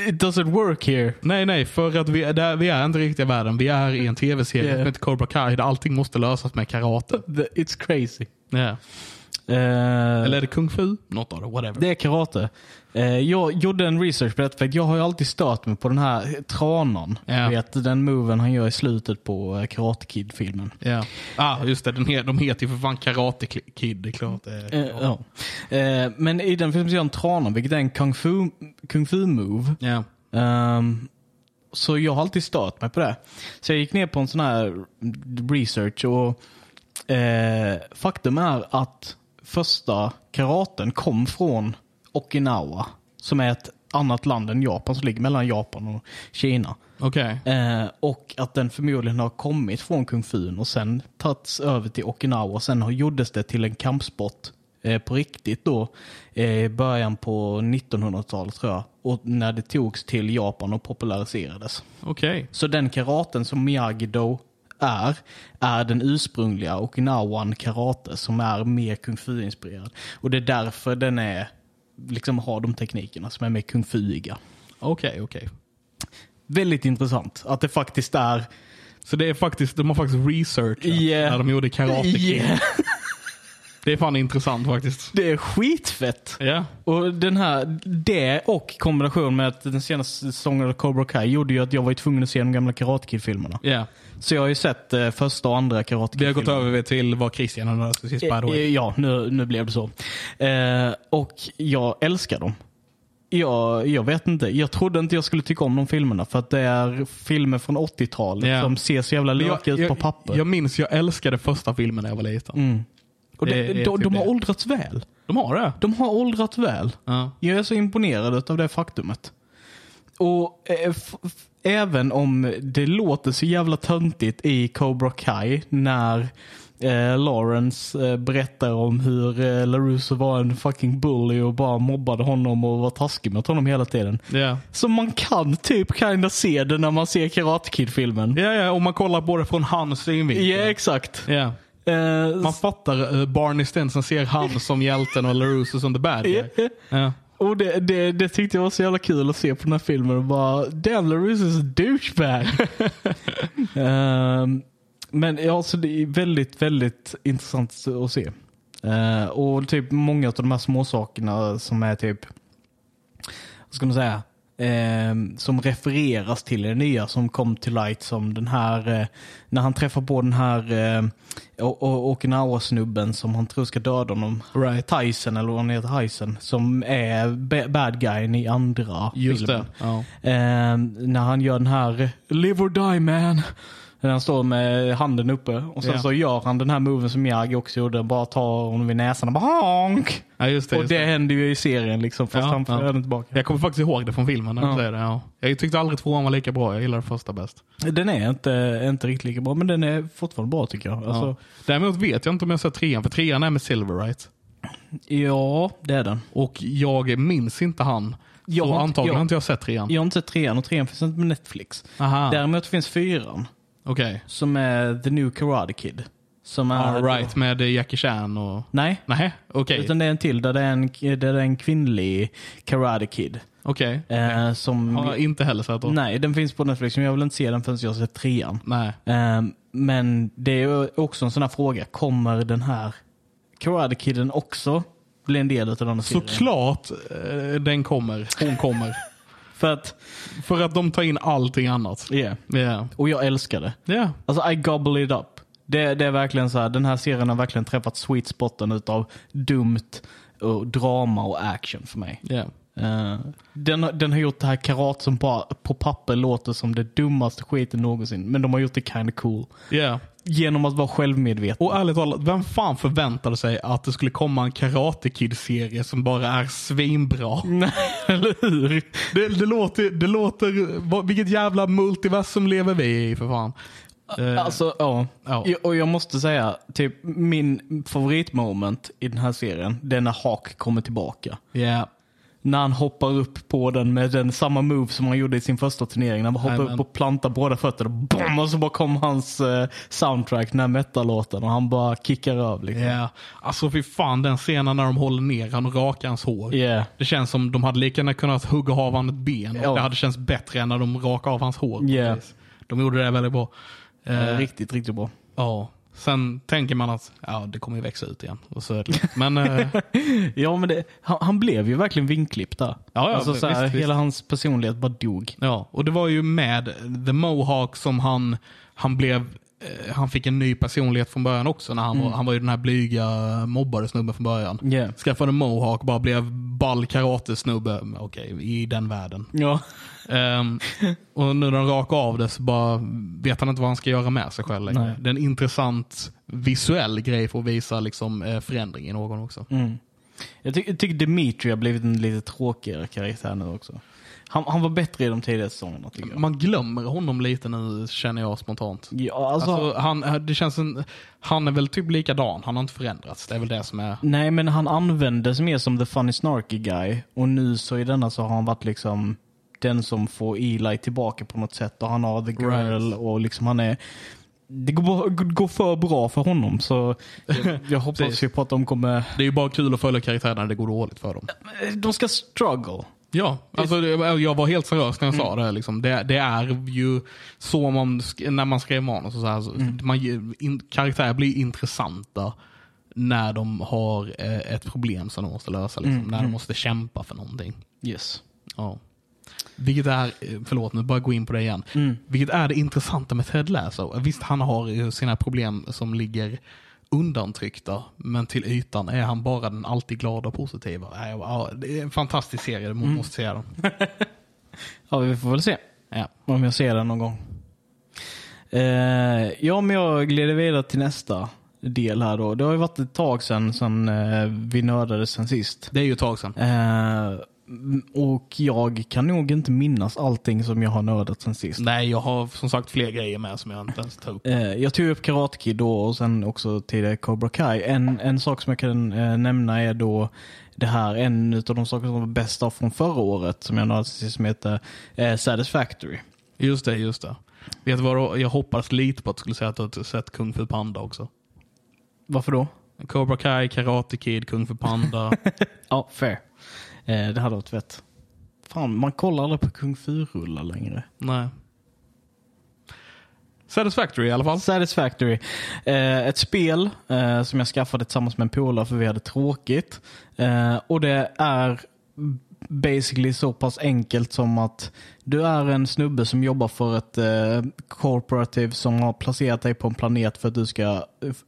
it doesn't work here. Nej, nej, för att vi är, där, vi är inte riktiga världen. Vi är i en tv-serie Yeah. som heter Cobra Kai där allting måste lösas med karate. The- It's crazy. Ja. Eh, Eller är det kung fu? Något av det, whatever. Det är karate. Eh, jag gjorde en research på detta för att jag har ju alltid stört mig på den här tranan. Ja. Du vet den moven han gör i slutet på eh, Karate Kid-filmen. Ja. Ah, just det. Den he, de heter ju för fan Karate Kid. Det är klart. det är- Eh, ja. Eh, men i den filmen så gör han tranan, vilket är en kung fu, kung fu move. Ja. Ehm, så jag har alltid stört mig på det. Så jag gick ner på en sån här research och eh, faktum är att första karaten kom från Okinawa. Som är ett annat land än Japan, som ligger mellan Japan och Kina. Okej. Eh, och att den förmodligen har kommit från kung fun och sen tagits över till Okinawa. Och sen har, gjordes det till en kampsport eh, på riktigt då eh, i början på 1900-talet tror jag. Och när det togs till Japan och populariserades. Okej. Så den karaten som Miyagi-Do är, är den ursprungliga Okinawan karate som är mer kung fu-inspirerad. Och det är därför den är, liksom har de teknikerna som är mer kung fu-iga. Okej, okej. Väldigt intressant att det faktiskt är Så det är faktiskt, de har faktiskt researchat Yeah. när de gjorde Karate Kid. Yeah. Det är fan intressant faktiskt. Det är skitfett. Ja. Och den här, det och kombination med att den senaste säsongen av Cobra Kai gjorde ju att jag var ju tvungen att se de gamla Karate Kid-filmerna. Ja. Så jag har ju sett eh, första och andra Karate Vi har gått Kid-filmerna. över till vad Christian har läst precis, by the Eh, way. eh, Ja, nu, nu blev det så. Eh, och jag älskar dem. Jag, jag vet inte. Jag trodde inte jag skulle tycka om de filmerna för att det är filmer från 80-talet Ja. som ser så jävla lökiga ut på papper. jag minns, jag älskade första filmen när jag var liten. och det, det är de, typ de har det. åldrats väl. De har det. De har åldrats väl. Ja. Jag är så imponerad av det faktumet. Och eh, f- f- även om det låter så jävla töntigt i Cobra Kai när eh, Lawrence eh, berättar om hur eh, LaRusso var en fucking bully och bara mobbade honom och var taskig mot honom hela tiden. Ja. Så man kan typ kinda se det när man ser Karate Kid-filmen. Ja, ja, om man kollar på det från hans synvinkel. Ja, exakt. Ja. Eh, Man fattar eh, Barney Stinson ser han som hjälten och LaRusso som the bad guy. Ja. Ja. Och det, det, det tyckte jag var så jävla kul att se på den här filmen. Och bara, Dan LaRusso is a douchebag. Ehm, men ja, så det är väldigt, väldigt intressant att se. Eh, och typ många av de här småsakerna som är typ, vad ska man säga, Ehm, som refereras till i det nya som kom till light som den här, eh, när han träffar på den här eh, O- O- Okinawa-snubben som han tror ska döda honom. Right. Tyson, eller vad han heter, Tyson, som är ba- bad guyen i andra Just filmen. det. Ja. Ehm, när han gör den här “Live or die man”. När han står med handen uppe. Och sen Ja. så gör han den här moven som Miyagi också gjorde. Bara tar honom vid näsan och bara honk. ja, just det. och Just det, det. händer ju i serien liksom. Fast Ja, han får ja. den tillbaka. Jag kommer faktiskt ihåg det från filmen. När Ja. du säger det, ja. Jag tyckte aldrig tvåan var lika bra. Jag gillade första bäst. Den är inte, inte riktigt lika bra. Men den är fortfarande bra tycker jag. Ja. Alltså, Däremot vet jag inte om jag har sett trean, för trean är med Silver right? ja. det är den. Och jag minns inte han. Jag så har inte- antagligen jag- har inte jag sett trean. Jag har inte sett trean och trean finns inte på Netflix. Aha, Däremot finns fyran. okej. Som är The New Karate Kid. Som är... All right, med eh, Jackie Chan och... Nej. Nej, okej. Utan det är en till där det är en, där det är en kvinnlig Karate Kid. Okej. Eh, som, Har jag inte heller sett då. nej, den finns på Netflix, men jag vill inte se den förrän jag har sett trean. Nej. Eh, men det är ju också en sån här fråga. Kommer den här Karate Kiden också bli en del av den här serien? Såklart eh, den kommer. Hon kommer. För att, För att de tar in allting annat. yeah. Ja. Och jag älskar det. Ja. Alltså I gobble it up. Det, det är verkligen så här, den här serien har verkligen träffat sweet spoten utav dumt, och drama och action för mig. Ja. Eh, den, den har gjort det här karat som bara på papper låter som det dummaste skiten någonsin. Men de har gjort det kind cool. Yeah. Genom att vara självmedvetna. Och ärligt talat, vem fan förväntade sig att det skulle komma en Karate Kid-serie som bara är svinbra? Nej, eller hur? Det, det, låter, det låter... vad- Vilket jävla multiversum lever vi i för fan? Eh, Alltså, ja. ja. Jag- Och jag måste säga, typ min favoritmoment i den här serien, det är när Hawk kommer tillbaka. yeah. När han hoppar upp på den med den samma move som han gjorde i sin första turnering. När han hoppar Jajamän. upp och plantar båda fötterna. Boom, och så bara kom hans eh, soundtrack, den här metal-låten. Och han bara kickar över. Liksom. Yeah. Alltså fy fan den scenen när de håller ner han och rakar hans hår. Yeah. Det känns som de hade lika gärna kunnat hugga av han ett ben och Ja. det hade känts bättre än när de rakade av hans hår. Yeah. Precis. De gjorde det väldigt bra. Eh, Riktigt, riktigt bra. ja. Sen tänker man att ja, det kommer ju växa ut igen. Och så är det lugnt. Men eh, Ja, men det, han, han blev ju verkligen vinklippt där. ja, alltså, så här, visst, visst. Hela hans personlighet bara dog. ja, och det var ju med The Mohawk som han, han blev eh, han fick en ny personlighet från början också. När han, var, han var ju den här blyga mobbade snubben från början. Yeah. Skaffade mohawk, bara blev ball karate-snubbe. Okej, i den världen. Ja. Ehm, och nu när han rakar av det så bara vet han inte vad han ska göra med sig själv längre. Nej. Det är en intressant visuell grej för att visa liksom, eh, förändring i någon också. Mm. Jag, ty- jag tycker Dimitri har blivit en lite tråkigare karaktär nu också. Han, han var bättre i de tidigare säsongerna tycker jag. Man glömmer honom lite nu känner jag spontant. Ja, alltså, Alltså, han, det känns en, han är väl typ likadan, han har inte förändrats. Det är väl det som är... Nej, men han användes mer som the funny snarky guy. Och nu så i denna så har han varit liksom den som får Eli tillbaka på något sätt. Och han har the girl Right. och liksom han är... Det går, bara- går för bra för honom så jag, jag hoppas Precis. ju på att de kommer... Det är ju bara kul att följa karaktärerna när det går dåligt för dem. De ska struggle. Ja, alltså, det- jag var helt seriös när jag sa det, liksom. det. Det är ju så man, sk- när man skrev manus. Och så här, så man, ju- in, karaktärer blir intressanta när de har eh, ett problem som de måste lösa. Liksom, När de måste kämpa för någonting. Yes. Ja. Vilket är, eh, förlåt nu bara gå in på det igen. Vilket är det intressanta med Ted Lasso. Visst han har ju sina problem som ligger undantryckta. Men till ytan är han bara den alltid glada och positiva. Nej, ja, Det är en fantastisk serie, du måste se den. Ja, vi får väl se. Ja. Om jag ser den någon gång. Eh, ja, men jag glider vidare till nästa del här då. Det har ju varit ett tag sedan, sedan eh, vi nördades sen sist. Det är ju ett tag sedan. Eh, m- och jag kan nog inte minnas allting som jag har nördat sen sist. Nej, jag har som sagt fler grejer med som jag inte ens tar upp. Eh, jag tog upp Karate Kid då och sen också till Cobra Kai. En, en sak som jag kan eh, nämna är då det här, en av de saker som var bäst av från förra året som jag nördade sen sist som heter eh, Satisfactory. Just det, just det. Vet du vad då? Jag hoppas lite på att du skulle säga att du har sett Kung Fu Panda också. Varför då? Cobra Kai, Karate Kid, Kung Fu Panda. Ja, fair. Eh, det hade varit fett. Fan, man kollar aldrig på Kung Fu-rullar längre. Nej. Satisfactory i alla fall. Satisfactory. Eh, ett spel eh, som jag skaffade tillsammans med en polare för vi hade tråkigt. Eh, och det är basically så pass enkelt som att du är en snubbe som jobbar för ett eh, corporative som har placerat dig på en planet för att du ska eh,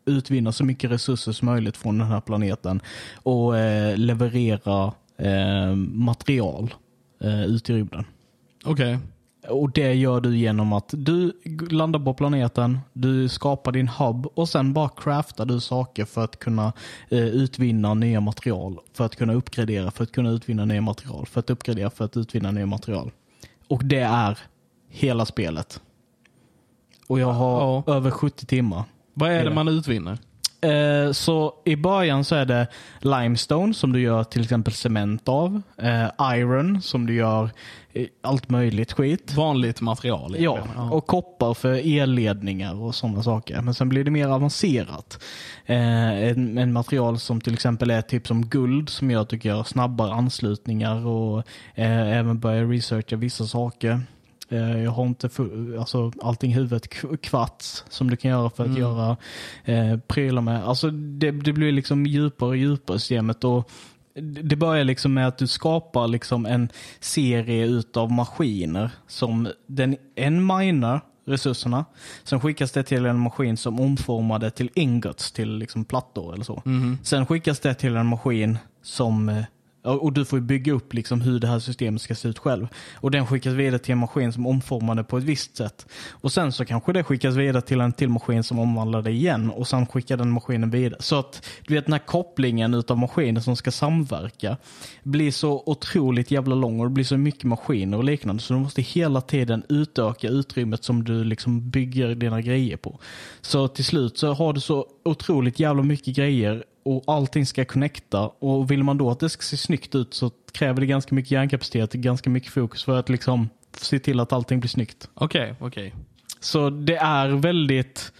utvinna så mycket resurser som möjligt från den här planeten och eh, leverera eh, material eh, ut i rymden. Okej. Och det gör du genom att du landar på planeten, du skapar din hub och sen bara craftar du saker för att kunna eh, utvinna nya material. För att kunna uppgradera, för att kunna utvinna nya material, för att uppgradera, för att utvinna nya material. Och det är hela spelet. Och jag har över 70 timmar. Vad är Är det det? man utvinner? Eh, så i början så är det limestone som du gör till exempel cement av. Eh, iron som du gör eh, allt möjligt skit. Vanligt material. Ja, egentligen. och koppar för elledningar och sådana saker. Men sen blir det mer avancerat. Eh, en, en material som till exempel är typ som guld som jag tycker gör snabbare anslutningar och eh, även börjar researcha vissa saker. Eh, jag har inte full, alltså, allting i huvudet. K- Kvarts som du kan göra för att Mm. göra eh, prylar med. Alltså, det, det blir liksom djupare och djupare systemet. Och det börjar liksom med att du skapar liksom en serie utav maskiner som den, en minar resurserna. Sen skickas det till en maskin som omformar det till ingots, till liksom plattor eller så. Sen skickas det till en maskin som eh, Och och du får ju bygga upp liksom hur det här systemet ska se ut själv. Och den skickas vidare till en maskin som omformar det på ett visst sätt. Och sen så kanske det skickas vidare till en till maskin som omvandlar det igen och sen skickar den maskinen vidare. Så att du vet den här kopplingen utav maskiner som ska samverka blir så otroligt jävla lång och det blir så mycket maskiner och liknande. Så du måste hela tiden utöka utrymmet som du liksom bygger dina grejer på. Så till slut så har du så otroligt jävla mycket grejer och allting ska connecta. Och vill man då att det ska se snyggt ut så kräver det ganska mycket hjärnkapacitet och ganska mycket fokus för att liksom se till att allting blir snyggt. Okej, okej. Så det är väldigt,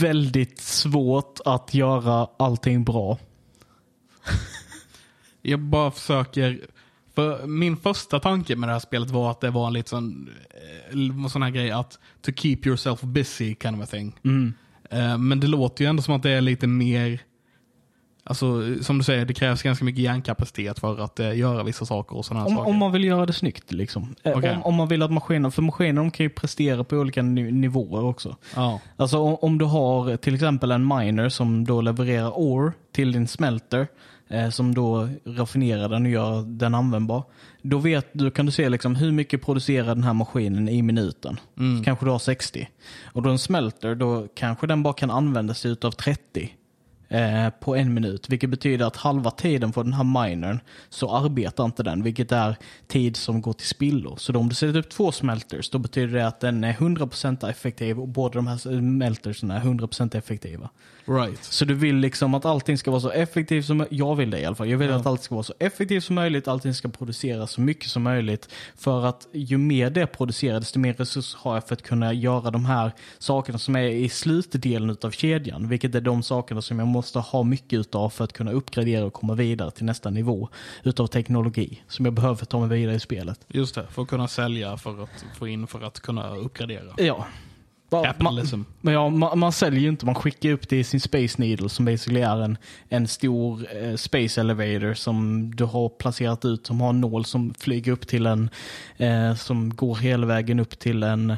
väldigt svårt att göra allting bra. Jag bara försöker... För min första tanke med det här spelet var att det var lite sån, eh, sån här grej att to keep yourself busy kind of a thing. Mm. Eh, Men det låter ju ändå som att det är lite mer, alltså som du säger, det krävs ganska mycket hjärnkapacitet för att eh, göra vissa saker och sådana här Om, saker. om man vill göra det snyggt liksom. Eh, Okej. Om, om man vill att maskinen, för maskiner de kan ju prestera på olika ni- nivåer också. Ja. Alltså om, om du har till exempel en miner som då levererar ore till din smelter eh, som då raffinerar den och gör den användbar. Då, vet, då kan du se liksom hur mycket producerar den här maskinen i minuten. Kanske du har 60. Och då en smelter, då kanske den bara kan använda sig utav 30 eh, på en minut. Vilket betyder att halva tiden på den här minern så arbetar inte den. Vilket är tid som går till spillo. Så då om du sätter upp två smelters då betyder det att den är 100% effektiv och båda de här smeltersen är 100% effektiva. Right. Så du vill liksom att allting ska vara så effektivt som möjligt. Jag vill det i alla fall. Jag vill att allt ska vara så effektivt som möjligt. Allting ska produceras så mycket som möjligt. För att ju mer det produceras, desto mer resurser har jag för att kunna göra de här sakerna som är i slutdelen utav kedjan. Vilket är de sakerna som jag måste ha mycket utav för att kunna uppgradera och komma vidare till nästa nivå utav teknologi. Som jag behöver för att ta mig vidare i spelet. Just det, för att kunna sälja, för att få in, för att kunna uppgradera. Ja. Va- Capitalism. Men ja, man, man säljer ju inte, man skickar upp det i sin Space Needle som basically är en, en stor eh, Space Elevator som du har placerat ut som har en nål som flyger upp till en, eh, som går hela vägen upp till en,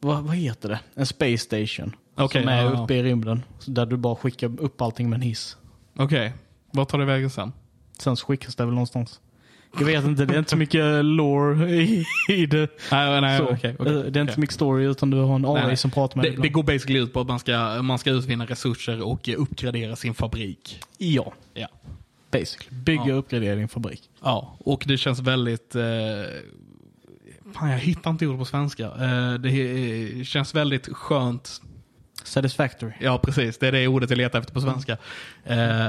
vad, vad heter det? En Space Station. Okej, som är ja, ja. uppe i rymden. Så där du bara skickar upp allting med en hiss. Okej, vart tar det vägen sen? Sen så skickas det väl någonstans. Jag vet inte, det är inte så mycket lore i, i det. Nej, nej, så, okej, okej, eh, det är inte okej. så mycket story utan du har en AI Nej, nej. som pratar med dig det, det ibland. går basically ut på att man ska, man ska utvinna resurser och eh, uppgradera sin fabrik. Ja. Ja. Basically. Bygga och uppgradera din fabrik. ja, och det känns väldigt... Eh, fan, jag hittar inte ord på svenska. Eh, det eh, känns väldigt skönt. Satisfactory. Ja, precis. Det är det ordet jag letar efter på svenska. Eh,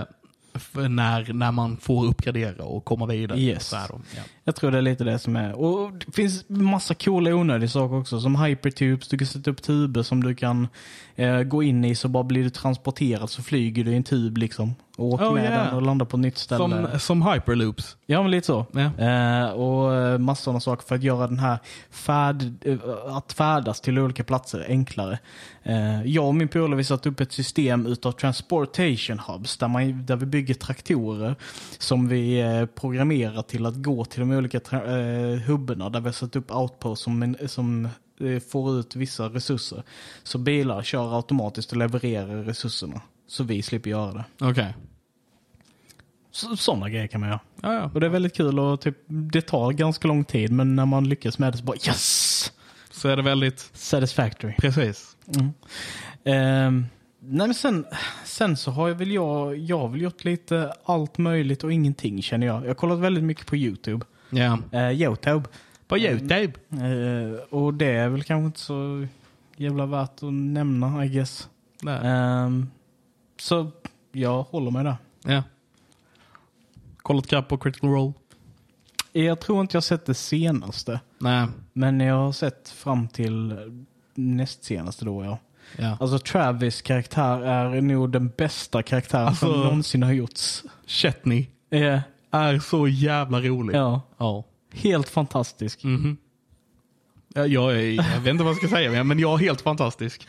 f- när, när man får uppgradera och komma vidare. Yes. Så här då. Ja. Jag tror det är lite det som är. Och det finns massa coola onödiga saker också. Som hypertubes, du kan sätta upp tuber som du kan eh, gå in i så bara blir du transporterad så flyger du i en tub liksom. Och åker Oh, med yeah. den och landar på ett nytt ställe. Som, som hyperloops. Ja men lite så. Ja. Eh, och eh, massor sådana saker för att göra den här färd, eh, att färdas till olika platser enklare. Eh, jag och min polare vi satte upp ett system utav transportation hubs där, man, där vi bygger traktorer som vi eh, programmerar till att gå till de olika tra- eh, hubbarna där vi har satt upp outposts som, en- som eh, får ut vissa resurser. Så bilar kör automatiskt och levererar resurserna. Så vi slipper göra det. Okej. Sådana grejer kan man göra. Ja, ja. Och det är väldigt kul och typ, det tar ganska lång tid men när man lyckas med det så bara yes! Så är det väldigt... Satisfactory. Mm. Precis. Ehm, nej men sen, sen så har jag väl jag, jag har väl gjort lite allt möjligt och ingenting känner jag. Jag har kollat väldigt mycket på YouTube. Ja. Eh, Youtube. På Youtube. Eh, och det är väl kanske inte så jävla värt att nämna I guess. Där. Ehm, så jag håller mig där. Ja. Kollat kapp på Critical Role? Jag tror inte jag har sett det senaste. Nej. Men jag har sett fram till näst senaste då, ja. Ja. Alltså Travis karaktär är nog den bästa karaktären Alltså- som någonsin har gjorts. Chetney Eh, är så jävla rolig. ja, Ja. Mhm. helt fantastisk. Ja, Jag, är- jag vet inte vad jag ska säga, men jag är helt fantastisk.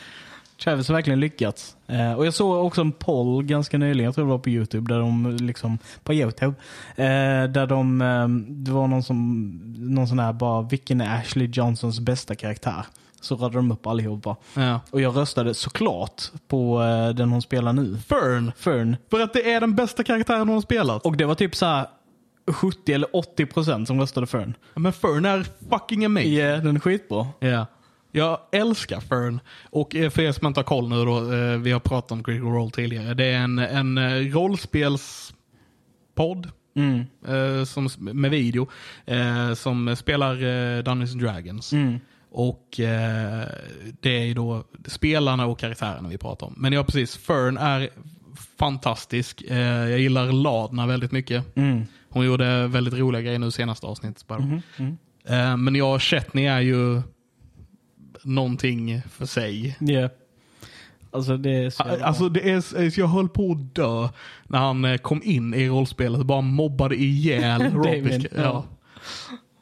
Travis har verkligen lyckats. Eh, och jag såg också en poll ganska nyligen, jag tror det var på YouTube, där de liksom, på YouTube, eh, där de, ehm, eh, det var någon som, någon sån här bara, vilken är Ashley Johnsons bästa karaktär? Så radade de upp allihopa. Ja. Och jag röstade såklart på eh, den hon spelar nu. Fern. Fern. För att det är den bästa karaktären hon har spelat. Och det var typ så här 70 eller 80 procent som röstade Fern. Men Fern är fucking amazing. Ja, den är skitbra. Ja. Jag älskar Fern. Och eh, för er som inte har koll nu då, eh, vi har pratat om Critical Role tidigare. Det är en, en eh, rollspelspodd Mm. eh, som, med video eh, som spelar eh, Dungeons and Dragons. Mm. Och eh, det är ju då spelarna och karaktärerna vi pratar om. Men ja, precis. Fern är fantastisk. Eh, jag gillar Ladna väldigt mycket. Hon gjorde väldigt roliga grejer nu senaste avsnittet. Bara. Mm-hmm. Mm. Eh, men jag och Chetney är ju någonting för sig. Ja. Alltså det är så jävla- Alltså det är, så- jag höll på att dö när han eh, kom in i rollspelet och bara mobbade ihjäl Robin. Damien, ja.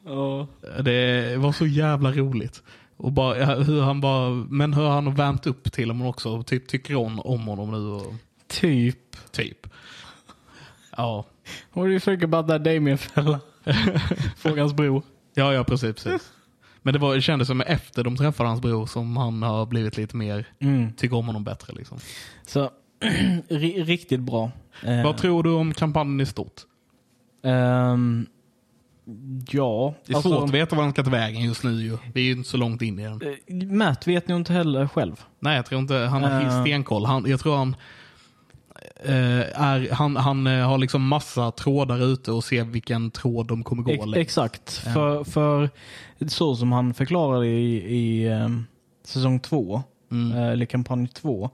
ja. Ja. Det var så jävla roligt. Och bara, ja, hur han bara, men hur han har värmt upp till honom också och typ tycker hon om honom nu. Och, Typ. typ. Ja. What do you think about that Damien fella? Frågans bror. ja, ja precis. precis. Men det, var, det kändes som efter de träffade hans bror som han har blivit lite mer, tycker om honom bättre. Liksom. Mm. Så ri- riktigt bra. Eh, Vad tror du om kampanjen i stort? ehm, ja. alltså, Det är svårt att veta vad den ska ta vägen just nu ju. Vi är ju inte så långt in i den. eh, Matt vet nog inte heller själv. Nej, jag tror inte han har Eh. stenkoll. Han, jag tror han, eh, är, han, han eh, har liksom massa trådar ute och ser vilken tråd de kommer gå liksom. Ex- längst. exakt. För, för så som han förklarade i, i ehm, säsong två, Mm. eh, eller kampanj två,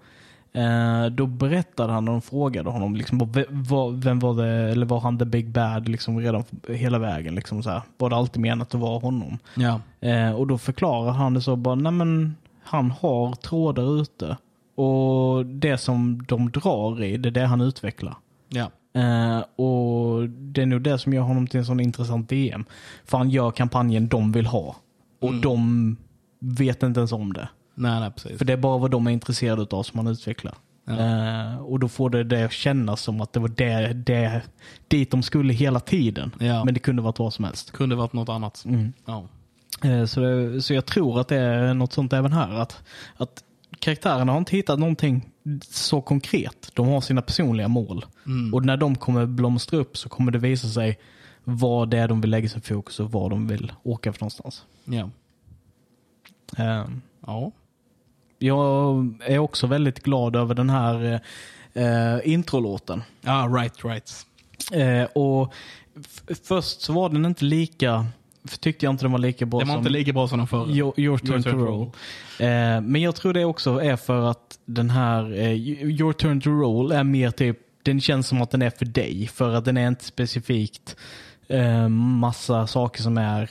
eh, då berättade han och de frågade honom liksom, vad- ve- vad- vem var det, eller var han the big bad liksom, redan hela vägen? Liksom, så här. Var det alltid menat att vara honom? Ja. Eh, och då förklarar han det så bara, nej men han har trådar ute. Och det som de drar i, det är det han utvecklar. Ja. Eh, och det är nog det som gör honom till en sån intressant DM. För han gör kampanjen de vill ha. Och de vet inte ens om det. Nej, nej, precis. För det är bara vad de är intresserade av som han utvecklar. Eh, och då får det det kännas som att det var det, det, dit de skulle hela tiden. Ja. Men Mm. det kunde varit vad som helst. Kunde varit något annat. Ja. Eh, Så, det, så jag tror att det är något sånt även här. Att, att karaktärerna har inte hittat någonting så konkret. De har sina personliga mål. Mm. Och när de kommer blomstra upp så kommer det visa sig vad det är de vill lägga sin fokus och vad de vill åka för någonstans. Ja. Eh, ja. Jag är också väldigt glad över den här eh, eh, introlåten. Ah, right, right. Eh, och f- först så var den inte lika, tyckte jag inte den var lika bra Den var som inte lika bra som den förra. Your, your turn Your to roll. Eh, men jag tror det också är för att den här eh, Your turn to roll är mer typ, den känns som att den är för dig. För att den är inte specifikt eh, massa saker som är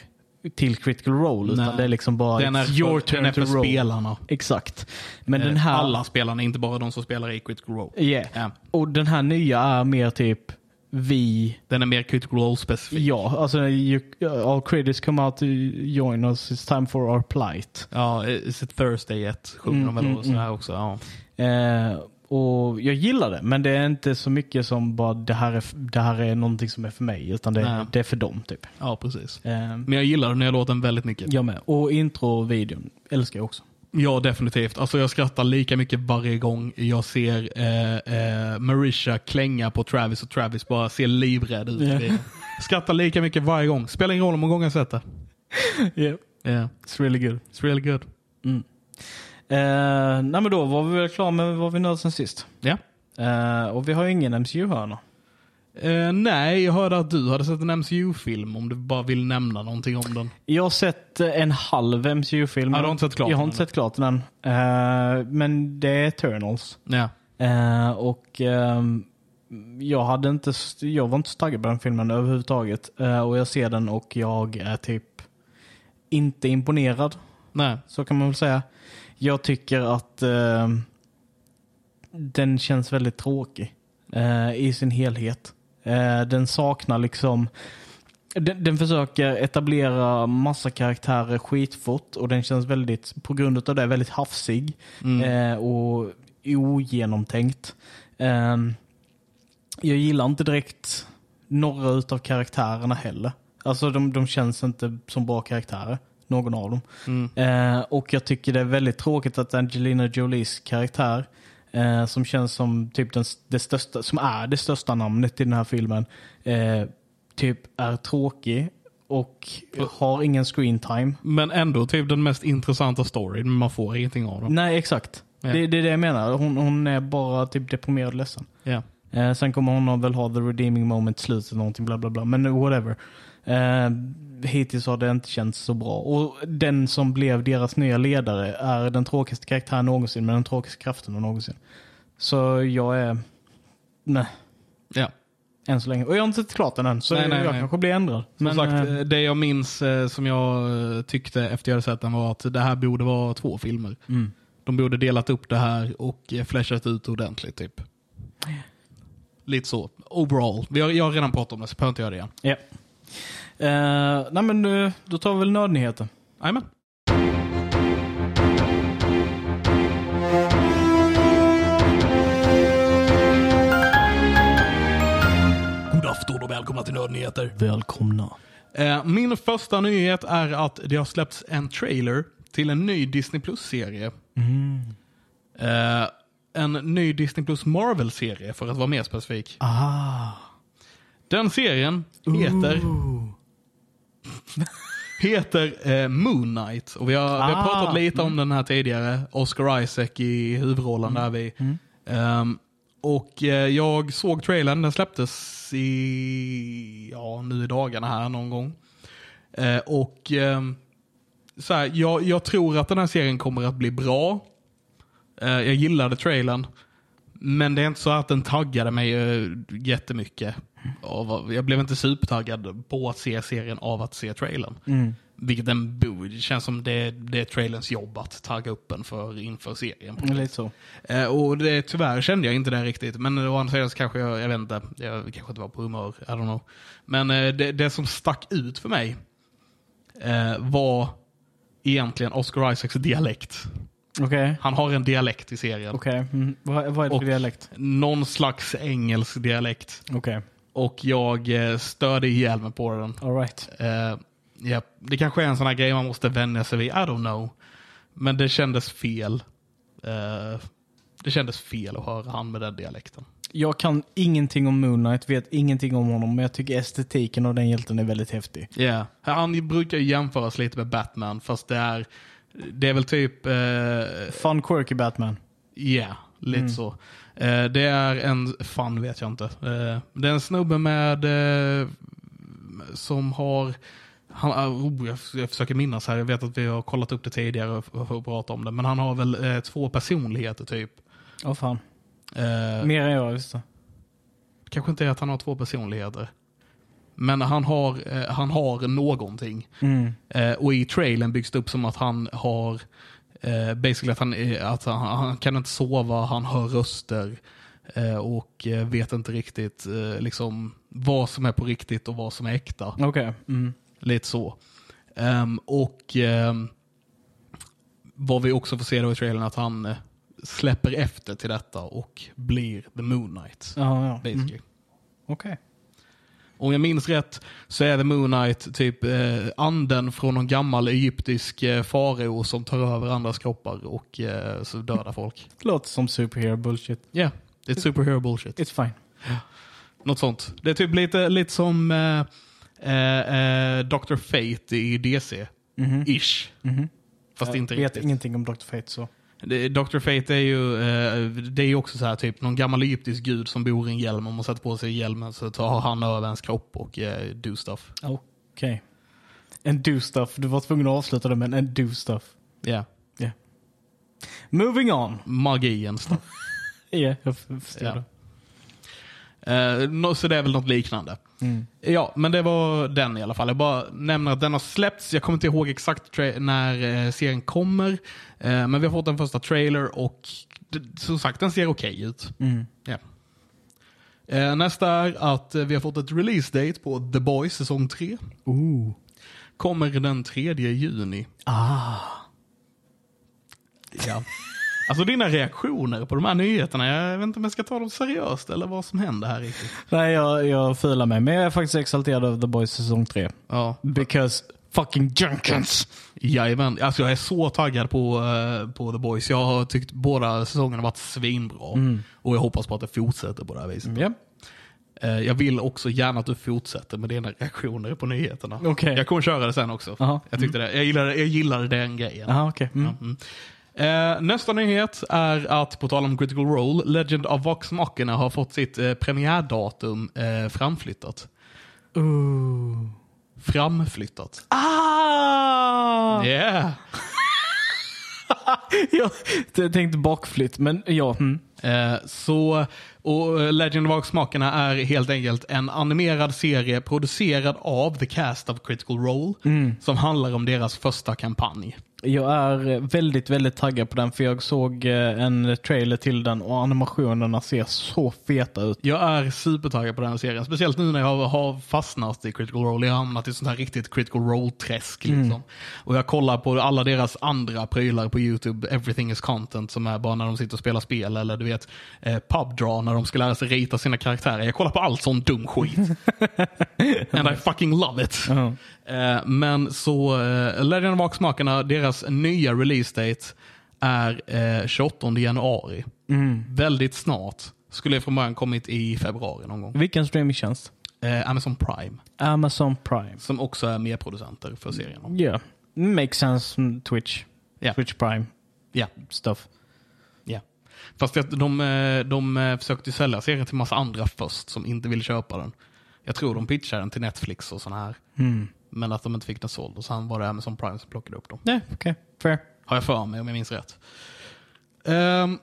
till critical roll. Nej. Utan det är liksom bara Den är it's för, your turn den är to för roll. spelarna. Eh, Exakt. Men den här... Alla spelarna, inte bara de som spelar i Critical Role. Yeah. Ja. Och den här nya är mer typ vi Den är mer Critical Role-specifik. Ja, alltså you, all credits come out to join us. It's time for our plight. Ja, Is it Thursday yet? Sjunger de Mm, väl och sådär också. Ja. Eh, och jag gillar det, men det är inte så mycket som bara det här är, det här är någonting som är för mig, utan Nej. det, det är för dem. typ. ja, precis. Eh, Men jag gillar den här låten väldigt mycket. jag med. Och introvideon älskar jag också. Ja, definitivt. Alltså jag skrattar lika mycket varje gång jag ser eh, eh, Marisha klänga på Travis och Travis bara ser livrädd ut. Ja. Yeah. Skrattar lika mycket varje gång. Spelar ingen roll hur många gånger jag sett det. Yeah, Yeah. it's really good. It's really good. Eh, nej, men då var vi väl klara med vad vi nördade sen sist. Ja. Eh, och vi har ju ingen MCU-hörna. Eh, nej, jag hörde att du hade sett en MCU-film om du bara vill nämna någonting om den. Jag har sett eh, en halv MCU-film. Ja, du har inte sett klart Jag har den inte sett klart den. Eh, men det är Eternals. Ja. Eh, och ehm, jag, hade inte, jag var inte så taggad på den filmen överhuvudtaget. Eh, och jag ser den och jag är typ inte imponerad. Nej. Så kan man väl säga. Jag tycker att ehm, den känns väldigt tråkig eh, i sin helhet. Eh, den saknar liksom den, den försöker etablera massa karaktärer skitfort och den känns väldigt, på grund av det, väldigt hafsig Mm. eh, och ogenomtänkt. Ehm, jag gillar inte direkt några utav karaktärerna heller. Alltså de, de känns inte som bra karaktärer. någon av dem. Mm. Eh, och jag tycker det är väldigt tråkigt att Angelina Jolies karaktär, eh, som känns som typ den, det största, som är det största namnet i den här filmen, eh, typ är tråkig och har ingen screen time. Men ändå typ den mest intressanta storyn, men man får ingenting av den. Nej, exakt. Ja. Det, det är det jag menar. Hon, hon är bara typ deprimerad och ledsen. Ja. Eh, sen kommer hon väl ha the redeeming moment i slutet, någonting bla bla bla. Men whatever. Eh, hittills har det inte känts så bra. Och den som blev deras nya ledare är den tråkigaste karaktären någonsin med den tråkigaste kraften någonsin. Så jag är... Nej, Ja. än så länge. Och jag har inte sett klart den än, så Nej, nej, jag nej. kanske blir ändrad. Som Men, sagt, eh, eh, det jag minns eh, som jag eh, tyckte efter jag hade sett den var att det här borde vara två filmer. mm. De borde delat upp det här och eh, flashat ut ordentligt. typ. Lite så. Overall. Vi har, jag har redan pratat om det så behöver inte göra det igen. ja. Eh, nej men eh, då tar vi väl nödnyheten. Jajamän. God afton och välkomna till Nördnyheter. Välkomna. Eh, Min första nyhet är att det har släppts en trailer till en ny Disney Plus-serie. Mm. Eh, En ny Disney Plus Marvel-serie för att vara mer specifik. Ah. Den serien heter... heter eh, Moon Knight. Och vi, har, vi har Ah, pratat lite om den här tidigare. Oscar Isaac i huvudrollen Mm. där vi. Ehm, och eh, jag såg trailern, den släpptes i, ja, nu i dagarna här någon gång. Eh, och ehm, så här, jag, jag tror att den här serien kommer att bli bra. Eh, jag gillade trailern. Men det är inte så att den taggade mig eh, jättemycket. Av, jag blev inte supertaggad på att se serien av att se trailern. Vilket den bo- det känns som det, det är trailerns jobb att tagga upp en för inför serien. Lite så. Eh, och det, tyvärr kände jag inte det riktigt. Men å andra sidan så kanske jag, jag vet inte, jag kanske inte var på humör, I don't know. Men eh, det, det som stack ut för mig eh, var egentligen Oscar Isaacs dialekt. Okej. Han har en dialekt i serien. Okej. Mm. Vad, vad är det Och- för dialekt? Någon slags engelsk dialekt. Okej. Och jag eh, störde ihjäl mig på den. Alright. Eh, ja, det kanske är en sån här grej man måste vänja sig vid. I don't know. Men det kändes fel. Eh, det kändes fel att höra han med den dialekten. Jag kan ingenting om Moon Knight, vet ingenting om honom, men jag tycker estetiken av den hjälten är väldigt häftig. Yeah. Han brukar ju jämföras lite med Batman, fast det är, det är väl typ... eh, Fun quirky Batman. Ja, lite så. Eh, det är en, fan vet jag inte. Eh, det är en snubbe med, eh, som har, han, ah, oh, jag, jag försöker minnas här, jag vet att vi har kollat upp det tidigare och, och, och pratat om det, men han har väl eh, två personligheter typ. Åh fan. Eh, Mer än jag visste. kanske inte är att han har två personligheter. Men han har, eh, han har någonting. Mm. Eh, och i trailern byggs det upp som att han har, eh, basically att, han, är- att han, han kan inte sova, han hör röster eh, och eh, vet inte riktigt eh, liksom, vad som är på riktigt och vad som är äkta. Okej. Mm. Lite så. Ehm, och ehm, vad vi också får se då i trailern att han eh, släpper efter till detta och blir The Moon Knight. Ja, ja. Basically. Mm. Okej. Om jag minns rätt så är The Moon Knight typ eh, anden från någon gammal egyptisk eh, farao som tar över andras kroppar och eh, så dödar folk. Låter som superhero bullshit. Ja, yeah. det är superhero bullshit. It's fine. Något sånt. Det är typ lite, lite som eh, eh, eh, Dr. Fate i DC. Ish. Fast inte jag Mm-hmm, vet riktigt. ingenting om Dr. Fate så. Det- Dr. Fate är ju, eh, det är ju också så här typ någon gammal egyptisk gud som bor i en hjälm. Om man sätter på sig hjälmen så tar han över ens kropp och eh, do stuff. Okej. En do stuff. Du var tvungen att avsluta det men en do stuff. Ja. Yeah. Moving on. Magien stuff. Ja, jag f- förstår Ja. det. Eh, nå- så det är väl något liknande. Mm. Ja, men det var den i alla fall. Jag bara nämner att den har släppts. Jag kommer inte ihåg exakt tra- när eh, serien kommer. Eh, men vi har fått den första trailer och d- som sagt, den ser okej ut. Ja. Eh, nästa är att eh, vi har fått ett release date på The Boys säsong 3. Ooh. Kommer den 3 juni. Ah. Ja. Alltså dina reaktioner på de här nyheterna, jag vet inte om jag ska ta dem seriöst eller vad som händer här riktigt. Nej, jag, jag filar mig. Men jag är faktiskt exalterad över The Boys säsong 3. Ja. Because fucking Jenkins. Jajamän. Alltså jag är så taggad på, eh, på The Boys. Jag har tyckt båda säsongerna har varit svinbra. Mm. Och jag hoppas på att det fortsätter på det här viset. Ja. Eh, Jag vill också gärna att du fortsätter med dina reaktioner på nyheterna. Okej. Jag kommer köra det sen också. Aha. Jag, tyckte det. Jag, gillade, jag gillade den grejen. Aha, okej. Mm. Mm. Eh, nästa nyhet är att, på tal om critical role, Legend of Vox Machina har fått sitt eh, premiärdatum eh, framflyttat. Ooh. Framflyttat. Ah! Yeah! jag jag tänkte bakflytt, men ja. Mm. Eh, så, och eh, Legend of Vox Machina är helt enkelt en animerad serie producerad av The Cast of Critical Role som handlar om deras första kampanj. Jag är väldigt, väldigt taggad på den för jag såg eh, en trailer till den och animationerna ser så feta ut. Jag är supertaggad på den här serien. Speciellt nu när jag har- har fastnat i critical role. Jag har hamnat i sånt här riktigt critical role-träsk. Liksom. Och jag kollar på alla deras andra prylar på YouTube. Everything is content som är bara när de sitter och spelar spel. Eller du vet, eh, pubdraw när de ska lära sig rita sina karaktärer. Jag kollar på allt sån dum skit. And I fucking love it. Eh, men så, eh, Legend of Vox-makarna, deras nya release date är eh, 28 januari. Väldigt snart. Skulle från början kommit i februari någon gång. Vilken streamingtjänst? Eh, Amazon Prime, Amazon Prime. som också är medproducenter för serien. Ja. Makes sense. mm, Twitch. Ja. Twitch Prime. Ja, Stuff. ja. Fast att de, eh, de eh, försökte ju sälja serien till massa andra först som inte ville köpa den. Jag tror de pitchade den till Netflix och sådana här. Men att de inte fick den såld och sen var det Amazon Prime som plockade upp dem. Nej, okej. Fair. Har jag för mig om jag minns rätt. Ehm,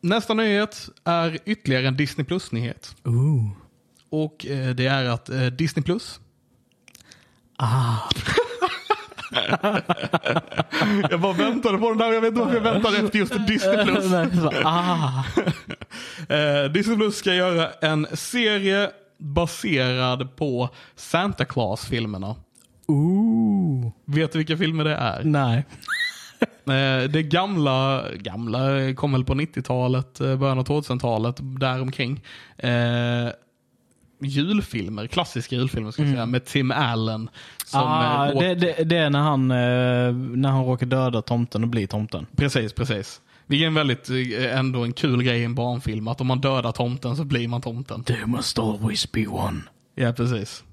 nästa nyhet är ytterligare en Disney Plus-nyhet. Ooh. Och eh, det är att eh, Disney Plus... Ah. jag bara väntade på den där, jag vet inte varför jag väntade efter just Disney Plus. Nej, så, ah. Eh, Disney Plus ska göra en serie baserad på Santa Claus-filmerna. Ooh. Vet du vilka filmer det är? Nej. Eh, Det gamla, gamla eh, kom väl på 90-talet, eh, början av 2000-talet, däromkring. Eh, julfilmer, klassiska julfilmer ska jag säga, med Tim Allen. Som Mm. ah, eh, åker- det, det, det är när han, eh, när han råkar döda tomten och blir tomten. Precis, precis. Vilket är en väldigt, eh, ändå en kul grej i en barnfilm, att om man dödar tomten så blir man tomten. There must always be one. Ja, precis.